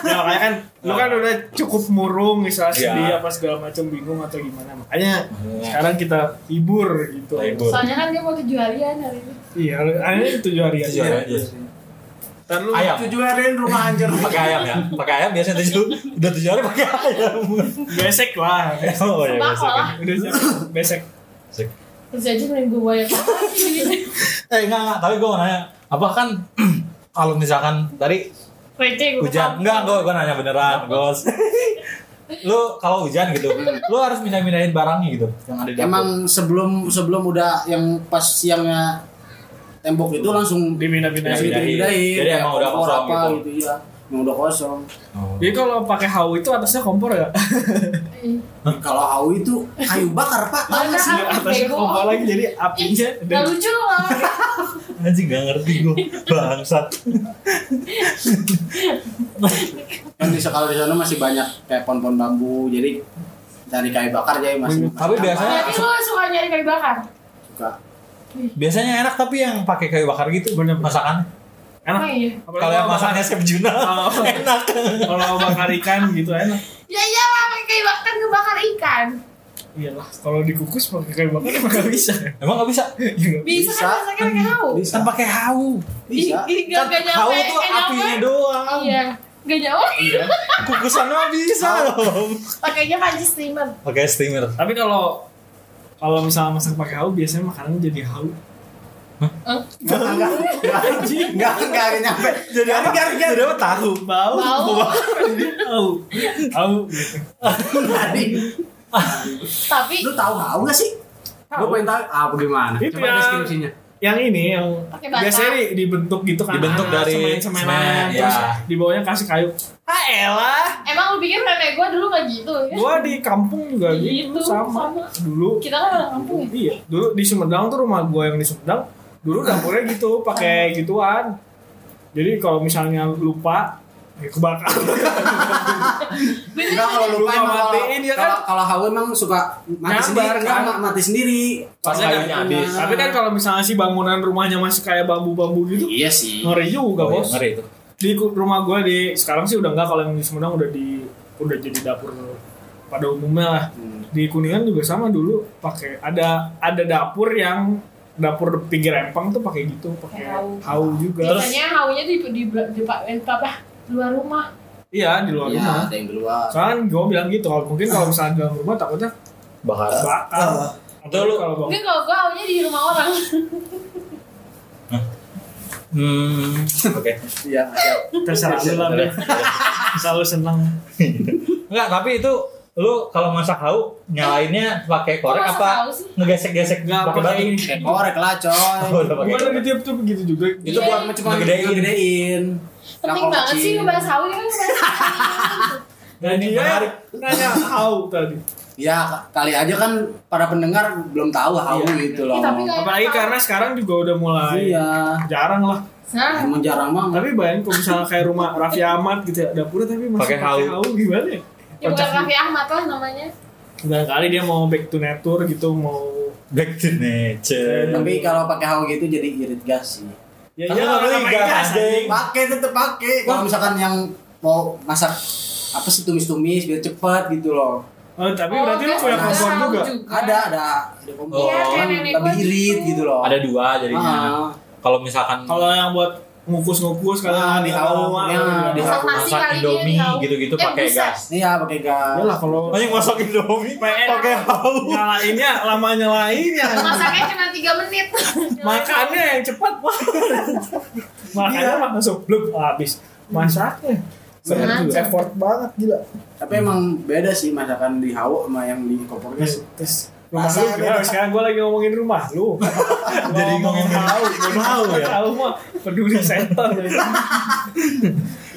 [SPEAKER 1] ya makanya kan lo kan udah cukup murung misalnya
[SPEAKER 3] Iya.
[SPEAKER 1] sedih apa segala macam bingung atau gimana makanya
[SPEAKER 3] Makanya.
[SPEAKER 1] sekarang kita hibur gitu
[SPEAKER 3] Kita hibur.
[SPEAKER 4] Soalnya kan dia mau kejualian hari ini.
[SPEAKER 1] iya ini tujuh hari
[SPEAKER 3] Tujuh
[SPEAKER 1] aja
[SPEAKER 3] hari aja.
[SPEAKER 1] Ntar lu-
[SPEAKER 3] Ayam.
[SPEAKER 2] Tujuarin rumah hancur.
[SPEAKER 3] Pakai ayam ya. Pakai ayam biasanya <laughs> tujuh udah tujuh hari pakai <laughs> ayam.
[SPEAKER 1] besek lah
[SPEAKER 3] Oh iya.
[SPEAKER 4] Sembako
[SPEAKER 3] besok ya.
[SPEAKER 4] lah.
[SPEAKER 1] <laughs> udah siap besek
[SPEAKER 3] Besok.
[SPEAKER 4] Terus aja mending gue bayar.
[SPEAKER 3] Eh enggak enggak, tapi gue mau nanya, apa kan <clears throat> kalau misalkan tadi
[SPEAKER 4] Receh gue.
[SPEAKER 3] hujan, enggak gue gue nanya beneran, <laughs> Gos. lu kalau hujan gitu, lu harus pindah-pindahin barangnya gitu yang ada di dapur.
[SPEAKER 2] Emang sebelum sebelum udah yang pas siangnya tembok itu langsung gitu
[SPEAKER 1] dipindah-pindah
[SPEAKER 3] Iya, iya.
[SPEAKER 2] Jadi
[SPEAKER 3] Jadi emang udah kosong
[SPEAKER 2] apa,
[SPEAKER 3] gitu.
[SPEAKER 2] gitu. ya. Emang udah kosong.
[SPEAKER 3] Oh.
[SPEAKER 1] jadi kalau pakai hau itu atasnya kompor ya Hmm.
[SPEAKER 2] Kalau hau itu kayu bakar pak. Tahu nggak sih?
[SPEAKER 4] Hau
[SPEAKER 1] <laughs> atasnya
[SPEAKER 4] bego.
[SPEAKER 1] kompor lagi jadi apinya
[SPEAKER 4] Gak
[SPEAKER 1] dan
[SPEAKER 4] lucu loh.
[SPEAKER 3] anjing gak ngerti gue bangsat.
[SPEAKER 2] Kan di sekolah di sana masih banyak kayak pohon-pohon bambu. Jadi dari kayu bakar jadi masih.
[SPEAKER 3] Tapi
[SPEAKER 2] masih
[SPEAKER 3] biasanya-
[SPEAKER 2] aman.
[SPEAKER 4] Tapi lu suka nyari kayu bakar.
[SPEAKER 2] suka.
[SPEAKER 3] Biasanya enak tapi yang pakai kayu bakar gitu
[SPEAKER 1] Bener, bener.
[SPEAKER 3] masakan.
[SPEAKER 1] enak
[SPEAKER 4] Emang iya.
[SPEAKER 1] Apalagi
[SPEAKER 3] Kalau yang
[SPEAKER 1] bakar-
[SPEAKER 3] masaknya Chef Juna
[SPEAKER 1] Kalau-
[SPEAKER 3] <laughs> enak.
[SPEAKER 1] kalau bakar ikan gitu enak
[SPEAKER 4] Ya iya lah pakai kayu bakar ngebakar ikan.
[SPEAKER 1] iyalah Iya kalau dikukus pakai kayu bakar emang gak bisa
[SPEAKER 3] Emang gak bisa?
[SPEAKER 1] Ya,
[SPEAKER 4] Bisa
[SPEAKER 2] Bisa.
[SPEAKER 4] kan masaknya pakai hau.
[SPEAKER 2] Bisa.
[SPEAKER 3] Kan pakai hau. Kan
[SPEAKER 2] Bisa.
[SPEAKER 4] Ih, ih, Gak gak
[SPEAKER 3] hau
[SPEAKER 4] nyampe.
[SPEAKER 3] tuh
[SPEAKER 4] gak nyampe.
[SPEAKER 3] apinya doang.
[SPEAKER 4] Iya. Gak nyampe.
[SPEAKER 3] Kukusan mah bisa loh.
[SPEAKER 4] Pakainya panci steamer.
[SPEAKER 3] Pakai steamer.
[SPEAKER 1] tapi kalau kalau misalnya masak pakai hau biasanya makanannya jadi hau
[SPEAKER 4] Eh,
[SPEAKER 2] Enggak, enggak, enggak, enggak, enggak, enggak nyampe.
[SPEAKER 3] Jadi apa? Jadi apa tahu?
[SPEAKER 1] <laughs> bau
[SPEAKER 4] Bau.
[SPEAKER 1] hau hau gitu.
[SPEAKER 2] Tadi,
[SPEAKER 4] Tapi
[SPEAKER 2] lu tahu hau nggak sih?
[SPEAKER 4] Tahu.
[SPEAKER 2] Gua pengen tahu ah bagaimana?
[SPEAKER 1] Itu
[SPEAKER 2] Coba
[SPEAKER 1] ya.
[SPEAKER 2] deskripsinya.
[SPEAKER 1] yang ini yang
[SPEAKER 4] Pakai bata.
[SPEAKER 1] biasanya di- dibentuk gitu kan
[SPEAKER 3] Dibentuk dari semen,
[SPEAKER 1] semen terus
[SPEAKER 3] ya.
[SPEAKER 1] di bawahnya kasih kayu ah elah
[SPEAKER 4] emang lu pikir nenek gue dulu gak gitu ya?
[SPEAKER 1] gua di kampung juga gitu,
[SPEAKER 4] Gitu,
[SPEAKER 1] sama.
[SPEAKER 4] sama.
[SPEAKER 1] dulu
[SPEAKER 4] Kita kan orang kampung ya?
[SPEAKER 1] iya dulu di Sumedang tuh rumah gua yang di Sumedang dulu dapurnya gitu pakai gituan jadi kalau misalnya lupa ya kebakar
[SPEAKER 2] Enggak kalau
[SPEAKER 1] Lu
[SPEAKER 2] lupa emang
[SPEAKER 1] nggak
[SPEAKER 2] kalau-
[SPEAKER 1] matiin, ya kan?
[SPEAKER 2] kalau kalau hau emang suka mati
[SPEAKER 1] Nyambar,
[SPEAKER 2] sendiri, enggak
[SPEAKER 1] kan?
[SPEAKER 2] ma- mati sendiri.
[SPEAKER 3] Pas kayunya habis.
[SPEAKER 1] tapi kan kalau misalnya si bangunan rumahnya masih kayak bambu-bambu gitu
[SPEAKER 2] Iya sih.
[SPEAKER 1] ngeri juga
[SPEAKER 3] Oh, iya,
[SPEAKER 1] bos
[SPEAKER 3] ngeri itu.
[SPEAKER 1] di ku- rumah gua di sekarang sih udah enggak kalau yang di Sumedang udah di udah jadi dapur pada umumnya lah
[SPEAKER 2] Hmm.
[SPEAKER 1] di kuningan juga sama dulu pakai ada ada dapur yang dapur pinggir empang tuh pakai gitu pakai
[SPEAKER 4] Kayak hau.
[SPEAKER 1] hau juga
[SPEAKER 4] Biasanya haunya di di di di- apa luar rumah.
[SPEAKER 1] iya di luar rumah
[SPEAKER 2] Iya, ada yang di luar.
[SPEAKER 1] soalnya gue bilang gitu kalau mungkin kalau misalnya di dalam rumah takutnya
[SPEAKER 3] bakar
[SPEAKER 1] bakar atau lu
[SPEAKER 3] lu-
[SPEAKER 1] kalau bang
[SPEAKER 4] Enggak kalau gua haunya di rumah orang.
[SPEAKER 3] hmm oke
[SPEAKER 2] Iya, ada.
[SPEAKER 1] terserah lu lah deh selalu senang
[SPEAKER 3] Enggak, tapi itu lu kalau masak hau nyalainnya pakai korek
[SPEAKER 4] masak
[SPEAKER 3] apa
[SPEAKER 4] hau sih?
[SPEAKER 3] ngegesek-gesek
[SPEAKER 1] Nggak,
[SPEAKER 3] pakai
[SPEAKER 1] pakai
[SPEAKER 3] batu?
[SPEAKER 1] ini.
[SPEAKER 2] Kayak Eh, korek lah,
[SPEAKER 3] Oh,
[SPEAKER 2] coy.
[SPEAKER 3] udah
[SPEAKER 1] gimana
[SPEAKER 3] pakai
[SPEAKER 1] di
[SPEAKER 3] korek.
[SPEAKER 1] tiap tuh begitu juga
[SPEAKER 2] Itu buat cuma
[SPEAKER 3] Ngegedein.
[SPEAKER 2] Iya. ngegedein.
[SPEAKER 4] Penting
[SPEAKER 2] Nah,
[SPEAKER 4] banget sih
[SPEAKER 2] kecil.
[SPEAKER 4] ngebahas hau ini kan ngebahas hau.
[SPEAKER 1] dan Nah,
[SPEAKER 3] Ini
[SPEAKER 1] dia
[SPEAKER 3] menarik.
[SPEAKER 1] nanya how tadi
[SPEAKER 2] Ya, kali aja kan para pendengar belum tahu hau gitu
[SPEAKER 4] Ih,
[SPEAKER 2] loh.
[SPEAKER 4] Iya, tapi kayak-
[SPEAKER 1] apalagi karena sekarang juga udah mulai
[SPEAKER 2] Iya.
[SPEAKER 1] jarang lah
[SPEAKER 4] Nah,
[SPEAKER 2] Emang jarang banget.
[SPEAKER 1] tapi bayangin kalau misalnya kayak rumah Raffi Ahmad gitu ya dapurnya tapi masih
[SPEAKER 3] Pakai
[SPEAKER 1] pakai
[SPEAKER 3] hau.
[SPEAKER 1] hau gimana ya
[SPEAKER 4] ya bukan
[SPEAKER 1] Kocak
[SPEAKER 4] Raffi Ahmad lah namanya.
[SPEAKER 1] Nah, kali dia mau back to nature gitu, mau
[SPEAKER 3] Back to nature.
[SPEAKER 2] Tapi kalau pakai hau gitu jadi irit gas sih.
[SPEAKER 1] ya
[SPEAKER 3] Karena nggak beli gas, anjing.
[SPEAKER 2] Pakai tetep pakai.
[SPEAKER 3] Iya.
[SPEAKER 2] Kalau misalkan yang mau masak apa sih tumis-tumis biar cepet gitu loh.
[SPEAKER 1] Oh, tapi berarti lu
[SPEAKER 4] kan
[SPEAKER 1] punya
[SPEAKER 2] ada
[SPEAKER 1] kompor
[SPEAKER 4] hau
[SPEAKER 1] juga.
[SPEAKER 2] Ada, ada. Ada kompor.
[SPEAKER 3] Oh,
[SPEAKER 4] Iya, kayak
[SPEAKER 2] Cuman
[SPEAKER 4] nenek gua
[SPEAKER 2] Lebih irit gitu loh.
[SPEAKER 3] Ada dua jadinya.
[SPEAKER 2] Ah.
[SPEAKER 3] Kalau misalkan
[SPEAKER 1] Kalau yang buat ngukus-ngukus kan,
[SPEAKER 2] Ah,
[SPEAKER 1] kalau
[SPEAKER 3] Nah,
[SPEAKER 2] di hau, ya, di
[SPEAKER 4] Masak
[SPEAKER 2] hau.
[SPEAKER 4] nasi
[SPEAKER 3] masak
[SPEAKER 4] kali dia di
[SPEAKER 3] Indomie
[SPEAKER 4] hau.
[SPEAKER 3] gitu-gitu
[SPEAKER 4] Eh,
[SPEAKER 3] pakai
[SPEAKER 4] buset.
[SPEAKER 3] gas.
[SPEAKER 2] Iya, pakai gas.
[SPEAKER 1] Ya lah kalau
[SPEAKER 3] Makanya masak Indomie
[SPEAKER 1] pakai
[SPEAKER 3] hau.
[SPEAKER 1] nyalainnya lama nyalainnya.
[SPEAKER 4] Masaknya cuma 3 menit.
[SPEAKER 1] Makannya yang cepat. wah.
[SPEAKER 3] Iya.
[SPEAKER 1] Makannya mah langsung blub habis. Masaknya.
[SPEAKER 4] Sengaja.
[SPEAKER 1] Berat juga. Effort banget gila.
[SPEAKER 2] Tapi emang beda sih masakan di hau sama yang di kompor gas.
[SPEAKER 1] Terus rumah
[SPEAKER 2] Masa
[SPEAKER 1] lu gimana?
[SPEAKER 2] beda.
[SPEAKER 1] Sekarang gue lagi ngomongin rumah <laughs> lu.
[SPEAKER 3] Jadi ngomongin tahu, tahu ya.
[SPEAKER 1] Tahu mah peduli center.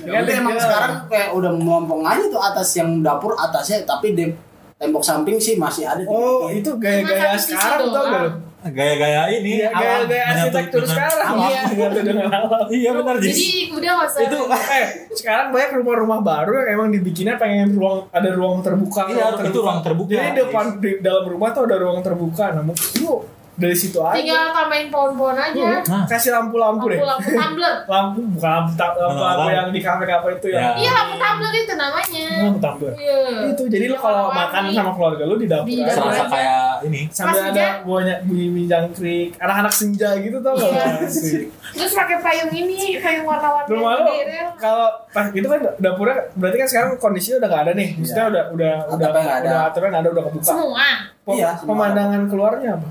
[SPEAKER 2] Ya, udah, emang sekarang kayak udah memompong aja tuh atas yang dapur atasnya tapi di tembok samping sih masih ada. Iya.
[SPEAKER 1] Oh, itu gaya-gaya
[SPEAKER 4] Cuma satu sisi
[SPEAKER 1] sekarang tau gak lu?
[SPEAKER 4] doang.
[SPEAKER 3] Gaya-gaya ini
[SPEAKER 1] Iya,
[SPEAKER 3] alam,
[SPEAKER 1] gaya-gaya
[SPEAKER 3] menyatu
[SPEAKER 1] arsitektur
[SPEAKER 3] dengan-
[SPEAKER 1] sekarang.
[SPEAKER 4] alam.
[SPEAKER 1] Iya, menyatu dengan alam.
[SPEAKER 3] Iya benar Jis.
[SPEAKER 4] Jadi udah enggak usah.
[SPEAKER 1] Itu eh sekarang banyak rumah-rumah baru yang emang dibikinnya pengen ruang ada ruang terbuka.
[SPEAKER 3] Iya, itu ruang terbuka.
[SPEAKER 1] Jadi depan di dalam rumah tuh ada ruang terbuka. Nah, mungkin lu dari situ aja.
[SPEAKER 4] tinggal tambahin pohon-pohon aja.
[SPEAKER 1] Lu kasih lampu-lampu Hmm. deh.
[SPEAKER 4] Lampu-lampu tumbler.
[SPEAKER 1] Lampu bukan lampu ta- lampu,
[SPEAKER 3] Lampu.
[SPEAKER 1] lampu yang di kafe-kafe itu ya.
[SPEAKER 4] Iya, lampu tumbler itu namanya.
[SPEAKER 1] Lampu tumbler.
[SPEAKER 4] Iya.
[SPEAKER 1] Itu jadi lu kalau makan sama keluarga lu di dapur.
[SPEAKER 4] Di
[SPEAKER 1] aja.
[SPEAKER 4] dapur.
[SPEAKER 3] Serasa kayak ini.
[SPEAKER 1] Sambil
[SPEAKER 4] Pas
[SPEAKER 1] ada bunyi bunyi jangkrik, anak-anak senja gitu tau gak?
[SPEAKER 4] Iya.
[SPEAKER 1] Asik.
[SPEAKER 4] Terus pakai payung ini, payung warna-warni.
[SPEAKER 1] rumah lu
[SPEAKER 4] gede, Rel.
[SPEAKER 1] kalau pas itu kan dapurnya berarti kan sekarang kondisinya udah nggak ada nih maksudnya udah udah udah
[SPEAKER 2] Atapnya nggak Iya. ada.
[SPEAKER 1] udah atapnya nggak ada udah kebuka
[SPEAKER 4] Semua.
[SPEAKER 1] Pe-
[SPEAKER 2] Iya, semua.
[SPEAKER 1] pemandangan keluarnya apa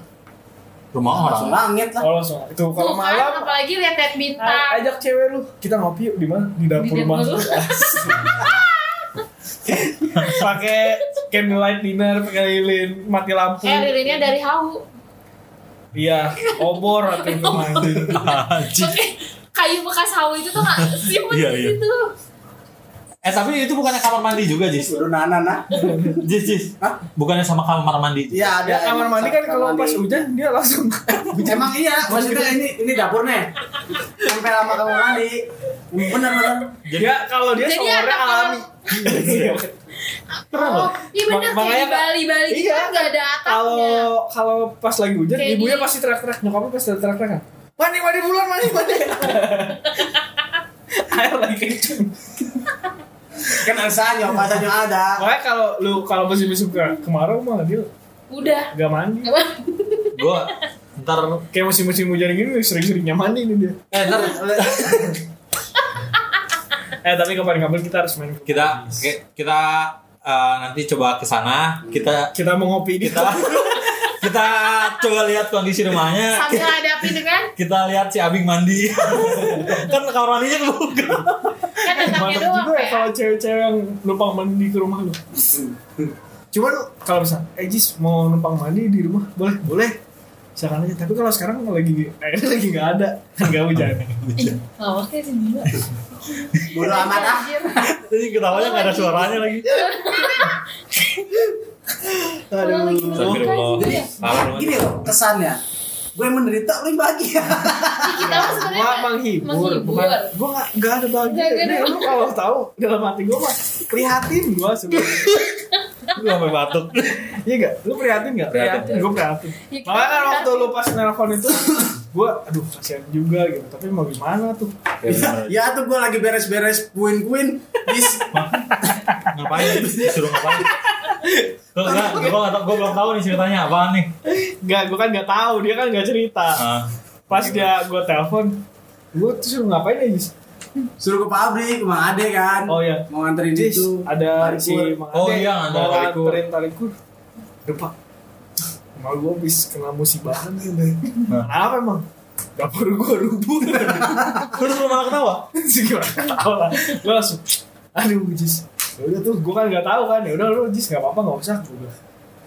[SPEAKER 3] Rumah orang.
[SPEAKER 2] langsung langit lah.
[SPEAKER 1] kalau soal itu kalau
[SPEAKER 4] Tuh kan,
[SPEAKER 1] malam
[SPEAKER 4] apalagi lihat-lihat bintang.
[SPEAKER 1] a- ajak cewek lu kita ngopi yuk di mana di dapur
[SPEAKER 4] Di
[SPEAKER 1] rumah
[SPEAKER 4] dapur.
[SPEAKER 1] pakai candlelight dinner pakai lilin mati lampu
[SPEAKER 4] Eh, lilinnya dari hau.
[SPEAKER 1] iya obor atau
[SPEAKER 4] <laughs>
[SPEAKER 1] gimana
[SPEAKER 3] Anjing.
[SPEAKER 4] Pakai kayu bekas hau itu tuh nggak simpen
[SPEAKER 3] Iya, iya.
[SPEAKER 4] di situ.
[SPEAKER 3] Eh tapi itu bukannya kamar mandi juga Jis.
[SPEAKER 2] Udah nana nah.
[SPEAKER 3] Jis Jis.
[SPEAKER 2] Hah?
[SPEAKER 3] Bukannya sama kamar mandi.
[SPEAKER 2] Iya ada.
[SPEAKER 1] ya kamar mandi kan
[SPEAKER 2] Kamar
[SPEAKER 1] kalau
[SPEAKER 2] mandi.
[SPEAKER 1] pas hujan dia
[SPEAKER 2] <laughs>
[SPEAKER 1] langsung <laughs>
[SPEAKER 2] Emang iya, maksudnya ini ini dapurnya. Sampai lama kamar mandi. Bener bener.
[SPEAKER 1] dia Ya, kalau dia
[SPEAKER 4] Jadi
[SPEAKER 1] sore
[SPEAKER 4] ada
[SPEAKER 1] alami Iya.
[SPEAKER 4] Oh, iya
[SPEAKER 1] Mak-
[SPEAKER 4] bener kayak di
[SPEAKER 1] makanya-
[SPEAKER 4] Bali Bali gitu
[SPEAKER 1] Iya.
[SPEAKER 4] kan nggak ada atapnya.
[SPEAKER 1] kalau kalau pas lagi hujan
[SPEAKER 4] Kayak
[SPEAKER 1] ibunya
[SPEAKER 4] di-
[SPEAKER 1] pasti teriak-teriak nyokapnya pasti teriak-teriak <laughs> kan mandi mandi bulan mandi mandi air lagi kenceng
[SPEAKER 2] Kan asalnya, asalnya ada.
[SPEAKER 1] makanya kalau lu kalau musim-musim ke- kemarau malah dia
[SPEAKER 4] Udah.
[SPEAKER 1] gak mandi
[SPEAKER 3] Gue ntar
[SPEAKER 1] kayak musim-musim hujan gini sering-seringnya mandi nih dia
[SPEAKER 3] eh ntar
[SPEAKER 1] eh tapi kapan-kapan kita harus main
[SPEAKER 3] kita ki- kita eh, nanti coba ke sana kita
[SPEAKER 1] kita mau ngopi di
[SPEAKER 3] kita <laughs> kita coba lihat kondisi rumahnya
[SPEAKER 4] Sambil hadapin kan
[SPEAKER 3] kita lihat si Abing mandi <laughs> kan kamar mandinya kebuka
[SPEAKER 4] kan atapnya
[SPEAKER 1] mantap
[SPEAKER 4] doang
[SPEAKER 1] juga ya
[SPEAKER 4] ya.
[SPEAKER 1] kalau cewek-cewek yang numpang mandi ke rumah lu cuman kalau misal Ejis mau numpang mandi di rumah boleh boleh silakan aja tapi kalau sekarang lagi airnya <laughs> lagi nggak ada nggak hujan
[SPEAKER 2] Iya.
[SPEAKER 4] Ih, Ngawaknya Oh, sih gila.
[SPEAKER 2] Bodo amat ah.
[SPEAKER 4] Anjir.
[SPEAKER 3] jadi ketawanya nggak
[SPEAKER 2] Oh,
[SPEAKER 3] ada suaranya lagi
[SPEAKER 2] iya.
[SPEAKER 4] Orang lagi
[SPEAKER 3] Astagfirullah.
[SPEAKER 4] melukai
[SPEAKER 1] Iya.
[SPEAKER 4] sih.
[SPEAKER 3] Kamar mandi.
[SPEAKER 2] Iya. Gini loh kesannya. Gue yang menderita, lu yang bahagia.
[SPEAKER 4] Ih, Kita mah
[SPEAKER 1] Gua
[SPEAKER 4] sebenarnya
[SPEAKER 1] menghibur,
[SPEAKER 4] menghibur.
[SPEAKER 1] bukan gua nggak nggak ada bahagia.
[SPEAKER 4] Nggak, nggak ada
[SPEAKER 1] Nih, lu kalau tahu dalam hati gua mah prihatin gua sebenarnya.
[SPEAKER 3] gue sampai batuk
[SPEAKER 1] Iya enggak? Lu prihatin enggak?
[SPEAKER 3] Prihatin.
[SPEAKER 1] gua prihatin.
[SPEAKER 4] Ya, kita
[SPEAKER 1] Makanya kan waktu
[SPEAKER 4] prihatin.
[SPEAKER 1] lu pas nelpon itu gua aduh kasihan juga gitu. Tapi mau gimana tuh?
[SPEAKER 2] Iya.
[SPEAKER 3] Ya bener.
[SPEAKER 2] ya tuh gue lagi beres-beres puin-puin. Dis-
[SPEAKER 3] ngapain disuruh ngapain gue nggak gue nggak tau gue belum tahu nih ceritanya apaan nih
[SPEAKER 1] Enggak, gue kan nggak tahu, dia kan nggak cerita.
[SPEAKER 3] Ah.
[SPEAKER 1] Pas dia gue telepon, gue tuh suruh ngapain aja? Jis?
[SPEAKER 2] Suruh ke pabrik, Mang Ade kan.
[SPEAKER 1] Oh, iya.
[SPEAKER 2] Mau nganterin
[SPEAKER 1] Jis,
[SPEAKER 2] itu.
[SPEAKER 1] ada
[SPEAKER 2] Parkur.
[SPEAKER 1] si Mang
[SPEAKER 3] Oh,
[SPEAKER 1] Ade,
[SPEAKER 3] iya, ada
[SPEAKER 1] bawa
[SPEAKER 3] Tarikur.
[SPEAKER 1] anterin tarikur. Aduh, Pak. Emang gue habis kena musibahan kan.
[SPEAKER 3] Nah.
[SPEAKER 1] Apa emang? Dapur gue rubuh.
[SPEAKER 3] terus lu malah ketawa
[SPEAKER 1] Terus gimana ketawa lah. Gue langsung, aduh Jis. Ya udah tuh, gue kan nggak tahu kan. Ya udah lu Jis nggak apa-apa, nggak usah. Gua bilang.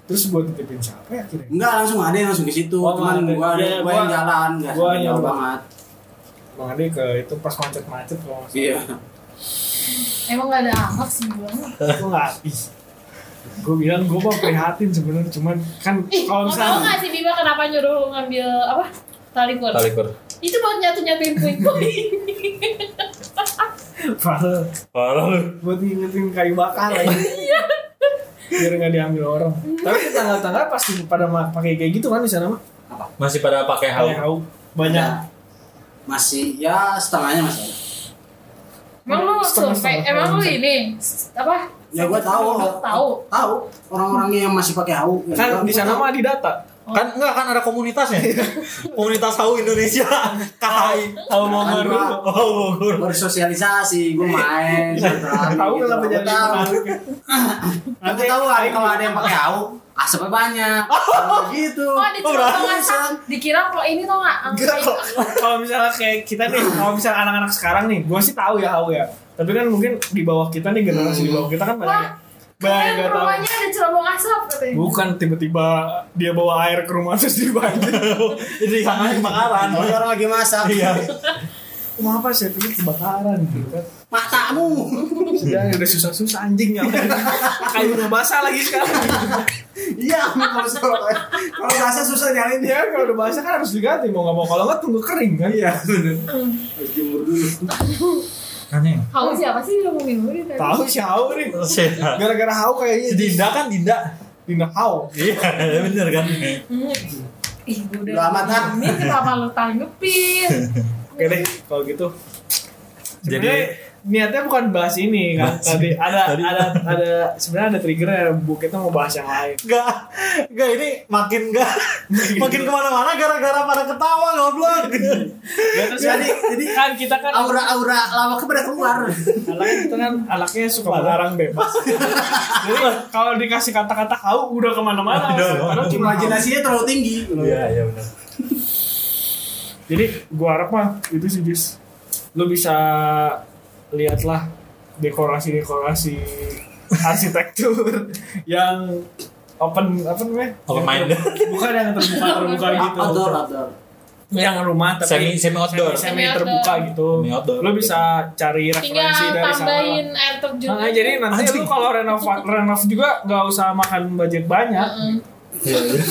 [SPEAKER 1] Terus gue titipin siapa ya akhirnya?
[SPEAKER 2] Enggak, langsung Ade langsung ke situ.
[SPEAKER 1] Oh, Mang
[SPEAKER 2] Cuman
[SPEAKER 1] Ade.
[SPEAKER 2] gua
[SPEAKER 1] Iya, iya,
[SPEAKER 2] gua yang
[SPEAKER 1] gua-
[SPEAKER 2] jalan, enggak
[SPEAKER 1] gua
[SPEAKER 2] jauh
[SPEAKER 1] yang-
[SPEAKER 2] banget.
[SPEAKER 1] Bang Ade ke itu pas macet-macet kalau nggak salah.
[SPEAKER 2] Iya.
[SPEAKER 4] Emang gak ada angkot sebelumnya?
[SPEAKER 1] gue nggak habis gue bilang gue mau prihatin sebenarnya cuman kan
[SPEAKER 4] Ih,
[SPEAKER 1] kalau
[SPEAKER 4] mau tau
[SPEAKER 1] misalnya
[SPEAKER 4] gak sih Bima kenapa nyuruh lu ngambil apa? Tali kur.
[SPEAKER 3] talikur
[SPEAKER 4] Itu buat nyatu-nyatuin
[SPEAKER 1] <laughs>
[SPEAKER 4] puing-puing.
[SPEAKER 1] Padahal
[SPEAKER 3] parah lu
[SPEAKER 1] buat ngingetin kayu bakar aja
[SPEAKER 4] <laughs> Iya.
[SPEAKER 1] biar nggak diambil orang tapi di tanggal-tanggal pasti pada ma- pakai kayak gitu kan di sana mah
[SPEAKER 3] masih pada pakai hau
[SPEAKER 1] kayak hau banyak
[SPEAKER 2] Ada. Masih ya setengahnya masih ada.
[SPEAKER 4] Emang lu
[SPEAKER 1] Setengah-setengah
[SPEAKER 4] survei? Emang lu
[SPEAKER 1] orang.
[SPEAKER 4] ini? Apa?
[SPEAKER 2] Ya gua tahu.
[SPEAKER 4] Tahu.
[SPEAKER 2] Tahu orang-orangnya yang masih pakai hau. Ya,
[SPEAKER 1] kan
[SPEAKER 2] gua-
[SPEAKER 1] di sana mah di data
[SPEAKER 3] kan enggak kan ada komunitasnya komunitas hau Indonesia KHI
[SPEAKER 1] hau Bogor
[SPEAKER 2] Kan
[SPEAKER 1] dulu.
[SPEAKER 3] hau Bogor
[SPEAKER 2] bersosialisasi, gue
[SPEAKER 1] <laughs>
[SPEAKER 2] main. silaturahmi,
[SPEAKER 1] tahu
[SPEAKER 2] gitu.
[SPEAKER 1] kenapa
[SPEAKER 2] Gua
[SPEAKER 1] jadi
[SPEAKER 2] tahu.
[SPEAKER 1] menarik ya?
[SPEAKER 2] Tapi tahu kan kalau ada
[SPEAKER 1] <laughs>
[SPEAKER 2] yang pakai au, asapnya banyak. Kalau gitu.
[SPEAKER 4] Oh, di tengah
[SPEAKER 2] bisa.
[SPEAKER 4] Dikira kalau ini tuh nggak
[SPEAKER 1] Enggak kok. Kalau misalnya kayak kita nih, kalau misalnya anak-anak sekarang nih, gua sih tahu ya hau ya. Tapi kan mungkin di bawah kita nih generasi di bawah kita kan banyak
[SPEAKER 4] Wah,
[SPEAKER 1] banyak
[SPEAKER 4] Kalian
[SPEAKER 1] nggak tahu.
[SPEAKER 4] Kan rumahnya ada cerobong asap katanya.
[SPEAKER 1] Bukan tiba-tiba dia bawa air ke rumah terus dia <laughs> banjir.
[SPEAKER 3] jadi sangat kebakaran
[SPEAKER 2] Kalau orang lagi masak,
[SPEAKER 3] iya
[SPEAKER 1] Kenapa saya pikir kebakaran gitu kan?
[SPEAKER 2] matamu.
[SPEAKER 1] Sudah udah susah-susah anjing nyala. Kayunya basah lagi sekarang.
[SPEAKER 2] Iya, kalau soal- kalau rasa susah nyalain
[SPEAKER 1] Dia
[SPEAKER 2] dia.
[SPEAKER 1] kalau udah basah kan harus diganti mau nggak mau kalau nggak tunggu kering kan? Iya.
[SPEAKER 2] Harus jemur dulu.
[SPEAKER 3] aneh
[SPEAKER 4] Kau siapa sih yang ngomongin lu tadi?
[SPEAKER 1] Tahu si Hau nih. Gara-gara Hau
[SPEAKER 3] si
[SPEAKER 1] kayaknya
[SPEAKER 3] Dinda kan Dinda
[SPEAKER 1] Dina Hau.
[SPEAKER 3] iya bener kan
[SPEAKER 4] Ih, gue udah
[SPEAKER 2] Udah amat, ah.
[SPEAKER 4] Ini kenapa lu
[SPEAKER 1] <laughs>
[SPEAKER 4] tanggepin?
[SPEAKER 1] Oke deh, kalau gitu.
[SPEAKER 3] Jadi-
[SPEAKER 1] Sebenarnya niatnya bukan bahas ini kan
[SPEAKER 3] Bahas-
[SPEAKER 1] tadi ada
[SPEAKER 3] tadi-
[SPEAKER 1] ada ada sebenarnya ada trigger bu kita mau bahas yang lain
[SPEAKER 3] Enggak, enggak ini makin enggak makin kemana-mana gara-gara pada ketawa goblok.
[SPEAKER 1] ya, terus jadi, jadi kan kita kan
[SPEAKER 2] Aura-aura lawak pada keluar.
[SPEAKER 1] Anaknya itu kan anaknya suka melarang bebas. <laughs> Jadi kalau dikasih kata-kata kau udah kemana-mana.
[SPEAKER 3] Udah,
[SPEAKER 1] Padahal cuma imajinasi.
[SPEAKER 2] Imajinasinya terlalu tinggi.
[SPEAKER 3] Iya, iya benar.
[SPEAKER 1] Jadi gua harap mah itu sih Jis. Lu bisa lihatlah <laughs> dekorasi-dekorasi arsitektur yang open apa namanya?
[SPEAKER 3] Open mind.
[SPEAKER 1] Bukan yang terbuka terbuka gitu.
[SPEAKER 2] Outdoor, outdoor.
[SPEAKER 1] Yang rumah tapi
[SPEAKER 3] Semi semi outdoor.
[SPEAKER 1] semi terbuka gitu.
[SPEAKER 3] Semi outdoor.
[SPEAKER 1] Lu bisa cari
[SPEAKER 4] Tinggal
[SPEAKER 1] referensi dari sana.
[SPEAKER 4] tambahin air terjun.
[SPEAKER 1] Nah, jadi nanti
[SPEAKER 3] Anjing.
[SPEAKER 1] lu kalau renov renov juga nggak usah makan budget banyak.
[SPEAKER 4] Heeh.
[SPEAKER 3] Iya, iya.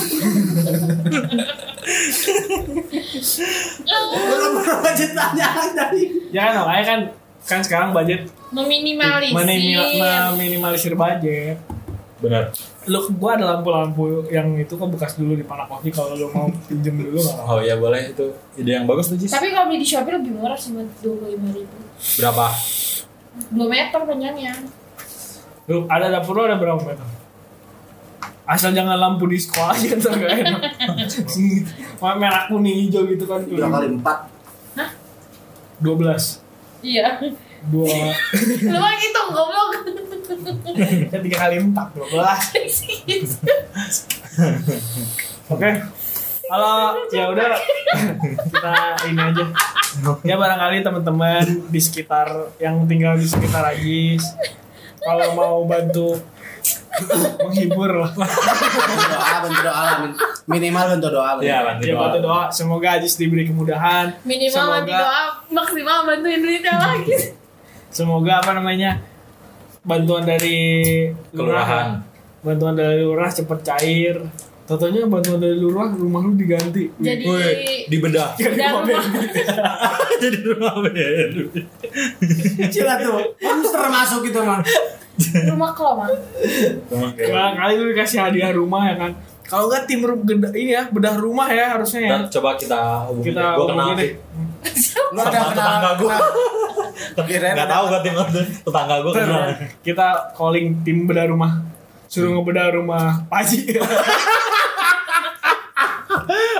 [SPEAKER 2] Belum lanjut tanyaan tadi.
[SPEAKER 1] Ya kan, makanya kan kan sekarang budget
[SPEAKER 4] Meminimalisir.
[SPEAKER 1] menimi- meminimalisir budget.
[SPEAKER 3] Benar.
[SPEAKER 1] Lu gua ada lampu-lampu yang itu kok bekas dulu di Panakofi kalau lu mau <laughs> pinjem dulu nggak apa-apa.
[SPEAKER 3] Oh iya boleh itu ide yang bagus tuh Jis.
[SPEAKER 4] Tapi kalau beli di Shopee lebih murah sih buat 25 ribu.
[SPEAKER 3] Berapa?
[SPEAKER 4] 2 meter panjangnya.
[SPEAKER 1] Lu ada dapur lu ada berapa meter? Asal jangan lampu disco aja <laughs> ntar gak enak. Wah, Merah kuning hijau gitu kan.
[SPEAKER 2] Tiga kali empat.
[SPEAKER 1] 12.
[SPEAKER 4] Iya.
[SPEAKER 1] Dua,
[SPEAKER 4] <laughs> Lu mah hitung goblok.
[SPEAKER 1] ya, <laughs> tiga kali empat, 12. Oke. Halo, ya udah kita ini aja. Ya barangkali teman-teman di sekitar yang tinggal di sekitar Agis kalau mau bantu menghibur lah.
[SPEAKER 2] Bentuk doa, bentuk doa. min- Minimal bentuk doa. bentuk
[SPEAKER 3] Iya,
[SPEAKER 2] doa.
[SPEAKER 3] bantu
[SPEAKER 1] Ya bantu
[SPEAKER 3] doa.
[SPEAKER 1] doa, semoga Agis diberi kemudahan.
[SPEAKER 4] Minimal
[SPEAKER 1] semoga,
[SPEAKER 4] mandi doa, maksimal bantuin duitnya lagi.
[SPEAKER 1] Semoga apa namanya? Bantuan dari
[SPEAKER 3] Kelurahan.
[SPEAKER 1] Bantuan dari lurah cepet cair. Tentunya bantuan dari lurah rumah lu diganti.
[SPEAKER 4] Jadi
[SPEAKER 3] Woi, di bedah. <laughs>
[SPEAKER 1] Jadi
[SPEAKER 4] Dan
[SPEAKER 1] mau
[SPEAKER 4] rumah.
[SPEAKER 1] beli.
[SPEAKER 3] Jadi rumah bedah.
[SPEAKER 2] Kecil lah tuh. Monster masuk gitu, Mang.
[SPEAKER 4] rumah kelomang.
[SPEAKER 3] Rumah kayak-
[SPEAKER 1] Nah, kali lu dikasih hadiah rumah ya kan. Kalau enggak tim ru- geda, ini ya bedah rumah ya harusnya ya.
[SPEAKER 3] Dan coba kita hubungin.
[SPEAKER 1] Kita
[SPEAKER 3] Gue ya, kenal
[SPEAKER 1] hubungi deh.
[SPEAKER 3] sih.
[SPEAKER 2] Lu ada
[SPEAKER 3] Sama tetangga
[SPEAKER 2] kenal Iya,
[SPEAKER 3] gua.
[SPEAKER 2] kenal- Kirain
[SPEAKER 3] Nggak
[SPEAKER 2] ada-
[SPEAKER 3] tahu gue tim London. Tetangga gue kenal.
[SPEAKER 1] Kita calling tim bedah rumah. Suruh ngebedah rumah Paji.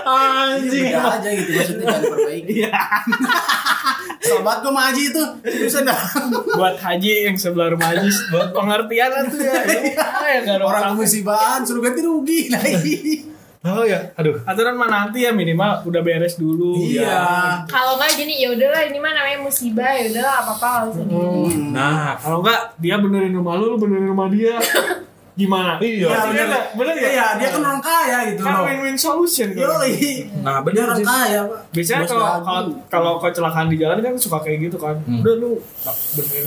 [SPEAKER 2] Anjing Iya. aja gitu maksudnya jangan diperbaiki. Sobat gue sama Aji itu bisa dah.
[SPEAKER 1] buat Haji yang sebelah rumah Haji buat pengertian tuh ya. Ya, nggak ada
[SPEAKER 2] Orang Iya.
[SPEAKER 1] apa-apa.
[SPEAKER 2] musibahan suruh ganti rugi lagi.
[SPEAKER 1] Oh ya, aduh. Aturan mah nanti ya minimal udah beres dulu.
[SPEAKER 2] Iya.
[SPEAKER 4] Kalau nggak gini ya udahlah ini mah namanya musibah ya udahlah apa apa harus sendiri.
[SPEAKER 2] Hmm.
[SPEAKER 3] Nah,
[SPEAKER 1] Kalau enggak dia benerin rumah lu, lu benerin rumah dia. Gimana?
[SPEAKER 3] Iya.
[SPEAKER 1] Iya, bener, nggak? bener ya?
[SPEAKER 2] Iya, dia kan orang kaya gitu
[SPEAKER 1] Kan
[SPEAKER 2] loh.
[SPEAKER 1] win-win solution kan.
[SPEAKER 2] Yoi.
[SPEAKER 3] nah
[SPEAKER 2] Dia
[SPEAKER 3] benar
[SPEAKER 2] orang
[SPEAKER 3] sih.
[SPEAKER 2] kaya, Pak.
[SPEAKER 1] Biasanya
[SPEAKER 2] Bos
[SPEAKER 1] kalau
[SPEAKER 2] dagu.
[SPEAKER 1] kalau kalau kecelakaan di jalan kan suka kayak gitu kan.
[SPEAKER 3] Hmm.
[SPEAKER 1] Udah lu benerin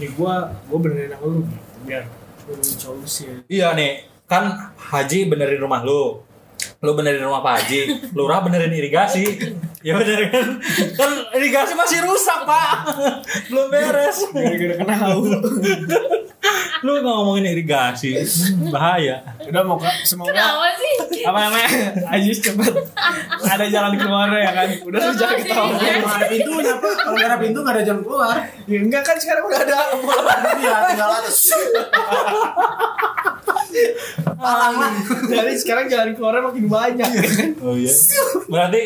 [SPEAKER 1] ini gua, gua benerin aku lu gitu, biar win-win solution.
[SPEAKER 3] Iya nih, kan Haji benerin rumah lu. Lu benerin rumah Pak Haji, lurah benerin irigasi. Ya bener kan? Kan irigasi masih rusak, Pak. Belum beres.
[SPEAKER 1] Gara-gara kena haus.
[SPEAKER 3] Lu nggak ngomongin irigasi, bahaya.
[SPEAKER 1] Udah mau Kak. semoga
[SPEAKER 4] Kenapa sih?
[SPEAKER 1] apa namanya Ajis cepet ada jalan keluarnya ya kan udah
[SPEAKER 4] Kenapa
[SPEAKER 1] sejak kita
[SPEAKER 4] sih? Iya.
[SPEAKER 1] ngomong
[SPEAKER 2] Nggak ada pintunya, Pak. Kalau nggak ada pintu nggak ada jalan keluar.
[SPEAKER 1] ya enggak kan sekarang udah ada
[SPEAKER 2] Iya, tinggal atas. Palang lah.
[SPEAKER 1] jadi sekarang jalan keluarnya makin banyak ya kan?
[SPEAKER 3] Oh iya. Berarti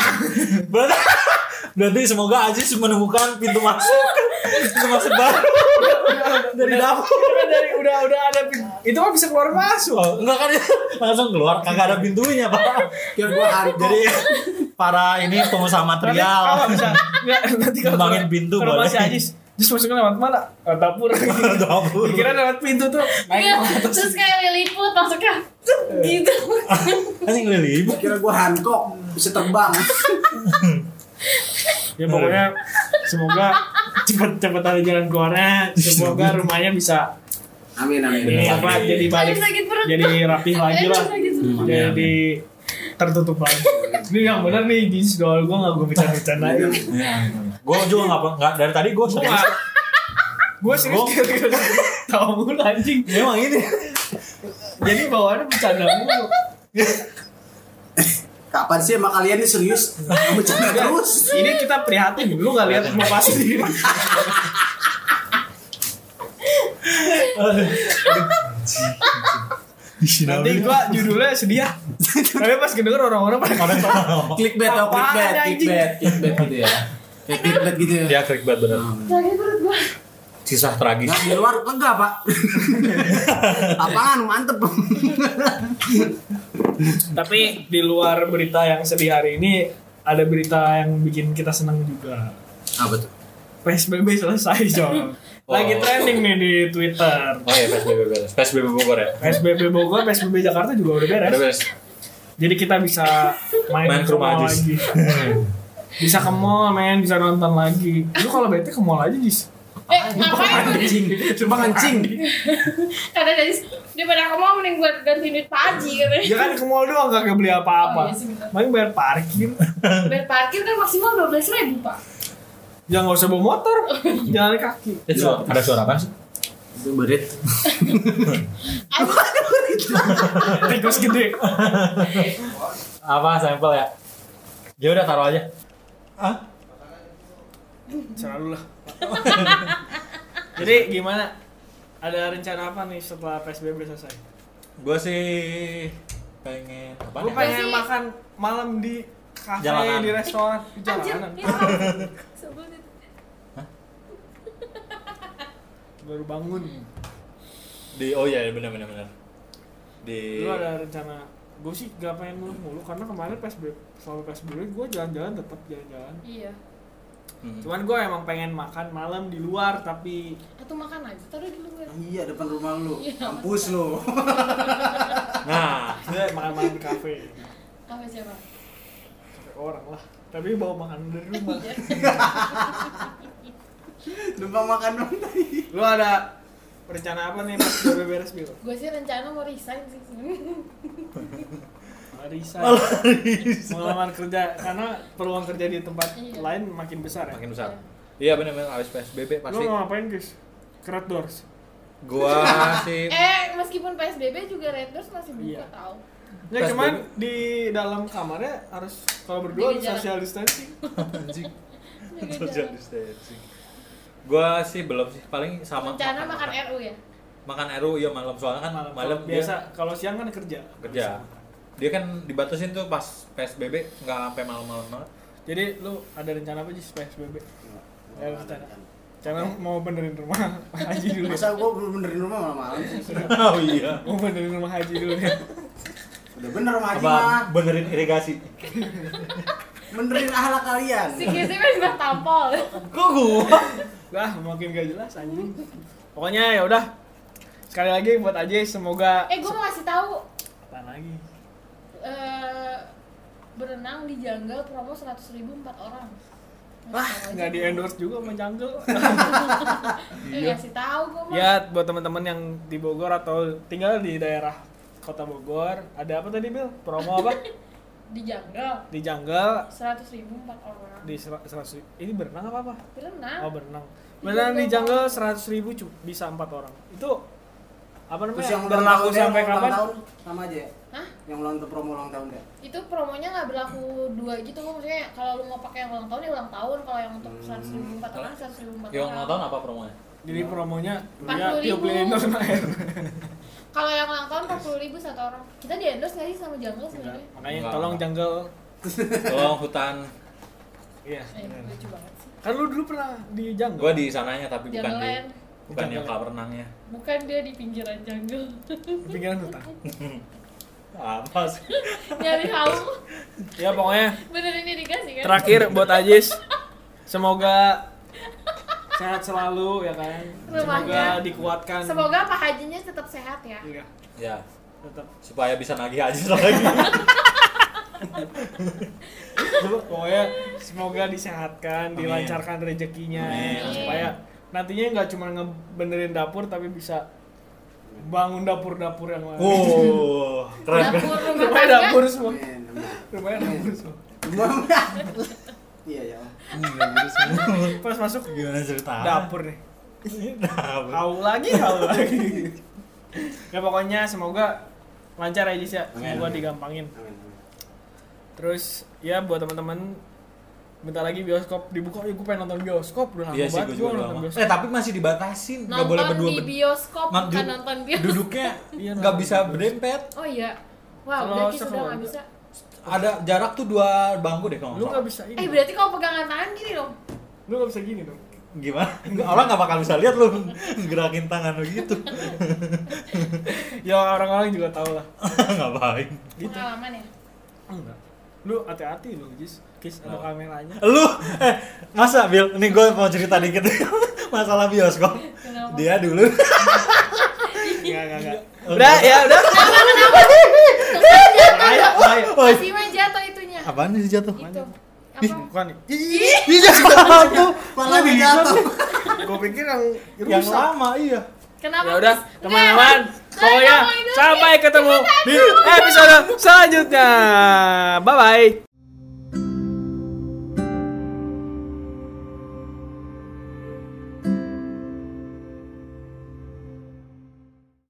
[SPEAKER 3] <laughs> berarti berarti semoga Aziz menemukan pintu masuk pintu masuk baru dari dapur
[SPEAKER 1] udah dari udah udah ada pin- itu mah bisa keluar masuk
[SPEAKER 3] enggak kan <laughs> langsung keluar kagak ada pintunya pak
[SPEAKER 2] Biar gua hantu.
[SPEAKER 3] jadi para ini pengusaha
[SPEAKER 1] nanti kalau
[SPEAKER 3] material
[SPEAKER 1] bisa
[SPEAKER 3] <laughs>
[SPEAKER 1] enggak, nanti kalau
[SPEAKER 3] Kembangin
[SPEAKER 1] kalau-
[SPEAKER 3] pintu
[SPEAKER 1] kalau
[SPEAKER 3] boleh.
[SPEAKER 1] masih Ajis terus masuknya lewat mana lewat dapur
[SPEAKER 3] dapur
[SPEAKER 1] dikira lewat pintu tuh
[SPEAKER 4] Iya, terus kayak liliput masuknya gitu.
[SPEAKER 3] anjing lili
[SPEAKER 2] Kira gua hankok bisa terbang.
[SPEAKER 1] ya pokoknya semoga cepet cepet ada jalan keluarnya semoga rumahnya bisa
[SPEAKER 2] Amin amin.
[SPEAKER 1] ini apa Iya, jadi balik
[SPEAKER 4] Aduh, sakit perut.
[SPEAKER 1] jadi rapih lagi
[SPEAKER 4] Aduh,
[SPEAKER 1] lah
[SPEAKER 4] sakit perut.
[SPEAKER 1] jadi tertutup lagi ini yang benar nih di doal gue nggak gue bicara bercanda
[SPEAKER 3] gue juga nggak apa nggak dari tadi gue serius
[SPEAKER 1] gue serius gara-gara tahu mulu anjing
[SPEAKER 3] emang ini
[SPEAKER 1] jadi bawaannya bercanda mulu
[SPEAKER 2] Kapan sih emang kalian ini serius? Bercanda terus.
[SPEAKER 1] ini kita prihatin lu nggak lihat
[SPEAKER 3] Iya.
[SPEAKER 1] muka sendiri nanti gue judulnya sedih ya tapi pas kedenger orang-orang pada
[SPEAKER 3] kadang sama
[SPEAKER 2] Clickbait oh,
[SPEAKER 1] Apaan,
[SPEAKER 2] clickbait,
[SPEAKER 1] anjing?
[SPEAKER 2] clickbait, clickbait gitu ya. Kayak clickbait gitu ya.
[SPEAKER 3] dia krik banget bener
[SPEAKER 4] Sakit perut gua.
[SPEAKER 3] kisah tragis
[SPEAKER 2] Nah, di luar lega, <laughs> Pak. Apaan? Mantep.
[SPEAKER 1] tapi di luar berita yang sedih hari ini ada berita yang bikin kita senang juga
[SPEAKER 2] Apa tuh?
[SPEAKER 1] PSBB selesai Jong lagi
[SPEAKER 3] Oh.
[SPEAKER 1] trending nih di Twitter
[SPEAKER 3] oh iya psbb beres psbb bogor ya
[SPEAKER 1] PSBB Bogor, PSBB Jakarta juga udah beres.
[SPEAKER 3] udah beres
[SPEAKER 1] Jadi kita bisa main, ke
[SPEAKER 3] Main ke rumah
[SPEAKER 1] mall
[SPEAKER 3] Ajis.
[SPEAKER 1] lagi. bisa ke mall, main bisa nonton lagi. Lu kalau bete ke mall aja, Jis.
[SPEAKER 4] Eh, ngapain?
[SPEAKER 2] Anjing. Cuma kencing.
[SPEAKER 4] Kata dari daripada kamu mending buat ganti duit Paji katanya.
[SPEAKER 1] Ya kan ke mall doang kagak beli
[SPEAKER 4] Oh,
[SPEAKER 1] apa-apa.
[SPEAKER 4] iya sih, bener.
[SPEAKER 1] Paling bayar parkir.
[SPEAKER 4] Bayar parkir kan maksimal dua belas ribu pak.
[SPEAKER 1] Jangan Ya, nggak usah bawa
[SPEAKER 4] <laughs>
[SPEAKER 1] motor, jalan kaki.
[SPEAKER 3] Eh, suara- ada suara apa sih
[SPEAKER 2] Itu berit.
[SPEAKER 1] Tikus gede.
[SPEAKER 3] apa sampel ya ya udah taruh aja
[SPEAKER 1] Selalu lah. <laughs> Jadi gimana? Ada rencana apa nih setelah PSBB selesai?
[SPEAKER 3] gue sih pengen apa
[SPEAKER 1] Gue
[SPEAKER 3] ya?
[SPEAKER 1] pengen
[SPEAKER 4] Pasti-
[SPEAKER 1] makan malam di kafe,
[SPEAKER 3] Jalanan.
[SPEAKER 1] di restoran, di
[SPEAKER 4] Anjir,
[SPEAKER 1] jalanan.
[SPEAKER 4] ya Allah. Sebel itu.
[SPEAKER 1] Baru bangun.
[SPEAKER 3] di oh iya benar benar benar di
[SPEAKER 1] Lu ada rencana gue sih gak pengen mulu-mulu karena kemarin PSBB selama PSBB gue jalan-jalan tetap jalan-jalan
[SPEAKER 4] Iya.
[SPEAKER 3] Hmm.
[SPEAKER 1] cuman gue emang pengen makan malam di luar tapi
[SPEAKER 4] Atau makan aja, taruh dulu gue.
[SPEAKER 2] Iya, depan rumah lu.
[SPEAKER 4] Iya.
[SPEAKER 2] Kampus lu. <laughs>
[SPEAKER 3] nah
[SPEAKER 1] gue makan malam di kafe
[SPEAKER 4] Apa siapa?
[SPEAKER 1] Kafe orang lah tapi bawa makanan dari rumah
[SPEAKER 2] Numpang makan dong tadi.
[SPEAKER 1] lu ada rencana apa nih pas PSBB beres bil
[SPEAKER 4] Gue sih rencana mau resign sih.
[SPEAKER 1] Marisa pengalaman kerja karena peluang kerja di tempat
[SPEAKER 4] Iya.
[SPEAKER 1] lain makin besar ya
[SPEAKER 3] makin besar iya benar benar habis
[SPEAKER 1] lu
[SPEAKER 3] psbb pasti
[SPEAKER 1] mau ngapain guys kerat doors
[SPEAKER 3] gua
[SPEAKER 4] <laughs>
[SPEAKER 3] sih
[SPEAKER 4] eh, meskipun PSBB juga Red Doors masih buka
[SPEAKER 1] Iya.
[SPEAKER 4] tau.
[SPEAKER 1] ya
[SPEAKER 3] PSBB.
[SPEAKER 1] cuman di dalam kamarnya harus kalau berdua
[SPEAKER 4] Jaga jarak.
[SPEAKER 1] social distancing
[SPEAKER 3] anjing
[SPEAKER 4] Eh,
[SPEAKER 3] social distancing gua sih belum sih paling sama
[SPEAKER 4] Rencana makan RU ya?
[SPEAKER 3] makan RU ya malam soalnya kan malam,
[SPEAKER 1] Malam
[SPEAKER 3] dia
[SPEAKER 1] biasa kalau siang kan kerja.
[SPEAKER 3] kerja dia kan dibatasin tuh pas PSBB nggak sampai malam-malam banget
[SPEAKER 1] Jadi lu ada rencana apa sih PSBB? Ya,
[SPEAKER 2] Nggak ada
[SPEAKER 1] rencana.
[SPEAKER 2] kan.
[SPEAKER 1] Rencana mau benerin rumah <laughs> Pak Haji dulu ya.
[SPEAKER 2] Masa gue benerin rumah malam-malam sih?
[SPEAKER 3] <laughs> oh iya
[SPEAKER 1] Mau benerin rumah Haji dulu ya.
[SPEAKER 2] Udah bener rumah Haji
[SPEAKER 3] apa
[SPEAKER 2] mah.
[SPEAKER 3] benerin irigasi
[SPEAKER 2] Benerin ahlak kalian.
[SPEAKER 4] Si Kisi kan juga tampol.
[SPEAKER 3] kok gua
[SPEAKER 1] Wah, makin gak jelas anjing. Pokoknya ya udah. Sekali lagi buat aja semoga
[SPEAKER 4] Eh, gue mau kasih tahu
[SPEAKER 1] apa lagi?
[SPEAKER 4] eh, berenang di Janggal promo 100.000 ribu empat orang.
[SPEAKER 1] Wah, nggak di endorse juga sama Jungle.
[SPEAKER 4] Eh, kasih tahu gue mah.
[SPEAKER 1] <laughs> ya, buat teman-teman yang di Bogor atau tinggal di daerah Kota Bogor, ada apa tadi, Bil? Promo apa?
[SPEAKER 4] Di Janggal
[SPEAKER 1] Di Jungle
[SPEAKER 4] 100.000 ribu empat orang.
[SPEAKER 1] di sera- seratus ini berenang apa apa?
[SPEAKER 4] Berenang.
[SPEAKER 1] Oh berenang. Berenang di jungle seratus ribu bisa empat orang. Itu apa namanya?
[SPEAKER 2] Terus yang ulang
[SPEAKER 1] berlaku
[SPEAKER 2] tahun-
[SPEAKER 1] sampai
[SPEAKER 2] yang ulang
[SPEAKER 1] kapan?
[SPEAKER 2] Tahun, sama aja ya.
[SPEAKER 4] Hah?
[SPEAKER 2] Yang ulang tahun promo ulang tahun deh.
[SPEAKER 4] itu promonya nggak berlaku dua gitu maksudnya kalau lu mau pakai yang ulang tahun ya ulang tahun kalau yang untuk
[SPEAKER 1] Hmm.
[SPEAKER 4] seratus ribu empat orang seratus ribu empat
[SPEAKER 3] yang
[SPEAKER 4] orang
[SPEAKER 3] nonton apa promonya
[SPEAKER 1] Jadi promonya ya,
[SPEAKER 4] Empat
[SPEAKER 1] dia
[SPEAKER 4] puluh
[SPEAKER 1] tiup
[SPEAKER 4] ribu.
[SPEAKER 1] lilin sama air.
[SPEAKER 4] kalau yang ulang tahun empat puluh ribu satu orang kita di endorse nggak sih sama jungle sebenarnya
[SPEAKER 1] <laughs> Makanya
[SPEAKER 3] Enggak.
[SPEAKER 1] tolong jungle.
[SPEAKER 3] tolong hutan
[SPEAKER 1] Iya.
[SPEAKER 4] eh, lucu banget sih
[SPEAKER 1] Kan lu dulu pernah di jungle.
[SPEAKER 3] gua di sananya tapi bukan di
[SPEAKER 4] jungle land
[SPEAKER 3] bukan
[SPEAKER 1] Jangan.
[SPEAKER 3] yang kolam renangnya
[SPEAKER 4] bukan dia di pinggiran jungle
[SPEAKER 1] di pinggiran hutan.
[SPEAKER 3] apa sih
[SPEAKER 4] nyari tahu
[SPEAKER 1] ya pokoknya
[SPEAKER 4] ya, bener ini dikasih kan
[SPEAKER 1] terakhir buat Ajis semoga sehat selalu ya kan. Semoga
[SPEAKER 4] Rumahnya.
[SPEAKER 1] dikuatkan.
[SPEAKER 4] semoga pak hajinya tetap sehat ya
[SPEAKER 1] Iya.
[SPEAKER 3] ya
[SPEAKER 1] Tetap.
[SPEAKER 3] supaya bisa nagih aja lagi
[SPEAKER 1] <laughs> pokoknya semoga disehatkan
[SPEAKER 3] Amin.
[SPEAKER 1] dilancarkan rezekinya ya.
[SPEAKER 3] Amin.
[SPEAKER 1] supaya nantinya nggak cuma ngebenerin dapur tapi bisa bangun dapur-dapur yang lain
[SPEAKER 3] wow keren keren
[SPEAKER 4] dapur
[SPEAKER 1] rumahnya dapur
[SPEAKER 4] rumah tangga
[SPEAKER 1] semua
[SPEAKER 2] Amin, amin.
[SPEAKER 1] rumahnya dapur semua
[SPEAKER 2] Iya ya.
[SPEAKER 1] pas masuk
[SPEAKER 3] gimana cerita
[SPEAKER 1] dapur nih
[SPEAKER 3] dapur
[SPEAKER 1] haul lagi haul lagi ya pokoknya semoga lancar ya Jis ya
[SPEAKER 2] Amin.
[SPEAKER 1] semoga digampangin
[SPEAKER 2] Amin, amin.
[SPEAKER 1] terus ya buat teman-teman bentar lagi bioskop dibuka ya gue pengen nonton bioskop udah lama
[SPEAKER 3] iya sih
[SPEAKER 1] banget
[SPEAKER 3] gua
[SPEAKER 1] gua
[SPEAKER 3] juga
[SPEAKER 1] nonton
[SPEAKER 3] lama
[SPEAKER 1] bioskop
[SPEAKER 3] eh tapi masih dibatasin nggak boleh
[SPEAKER 4] nonton
[SPEAKER 3] berdua
[SPEAKER 4] di
[SPEAKER 3] ber-
[SPEAKER 4] bioskop
[SPEAKER 3] Mak,
[SPEAKER 4] bukan
[SPEAKER 3] du-
[SPEAKER 4] nonton bioskop
[SPEAKER 3] duduknya
[SPEAKER 1] <laughs> Iya,
[SPEAKER 3] nggak
[SPEAKER 1] nonton
[SPEAKER 3] bisa berdempet
[SPEAKER 4] oh iya wow
[SPEAKER 1] Kalau
[SPEAKER 4] udah Ki, sudah
[SPEAKER 1] sekeluarga.
[SPEAKER 4] nggak bisa
[SPEAKER 3] ada jarak tuh dua bangku deh kalau
[SPEAKER 1] lu
[SPEAKER 3] nggak
[SPEAKER 1] nggak
[SPEAKER 3] salah.
[SPEAKER 1] bisa ini
[SPEAKER 4] eh berarti kalau pegangan tangan gini dong
[SPEAKER 1] lu nggak bisa gini dong
[SPEAKER 3] gimana orang nggak bakal bisa lihat lu gerakin tangan lu gitu <laughs>
[SPEAKER 1] ya orang-orang juga tahu lah
[SPEAKER 3] ngapain
[SPEAKER 1] gitu
[SPEAKER 4] pengalaman ya
[SPEAKER 1] enggak lu hati-hati lu Jis Kis ada
[SPEAKER 3] Kenapa? <laughs>
[SPEAKER 1] kameranya
[SPEAKER 3] lu eh masa Bill nih gue mau cerita dikit <laughs> masalah bioskop
[SPEAKER 4] Kenapa?
[SPEAKER 3] dia
[SPEAKER 1] <laughs>
[SPEAKER 3] dulu
[SPEAKER 1] enggak enggak enggak
[SPEAKER 3] udah ya udah
[SPEAKER 1] bahaya bahaya
[SPEAKER 4] Masih main jatuh itunya.
[SPEAKER 3] apaan sih jatuh
[SPEAKER 4] Itu.
[SPEAKER 3] Ih.
[SPEAKER 4] Apa?
[SPEAKER 1] bukan nih
[SPEAKER 3] Ih, bisa
[SPEAKER 1] <laughs>
[SPEAKER 3] jatuh
[SPEAKER 2] Malah dia jatuh.
[SPEAKER 1] gue pikir yang
[SPEAKER 3] yang lama iya
[SPEAKER 4] Kenapa?
[SPEAKER 1] ya
[SPEAKER 4] Eh,
[SPEAKER 1] udah
[SPEAKER 4] Miss?
[SPEAKER 1] teman-teman
[SPEAKER 4] Nggak. ya.
[SPEAKER 1] pokoknya
[SPEAKER 4] Saya nggak mau ini.
[SPEAKER 1] sampai ketemu di episode selanjutnya bye bye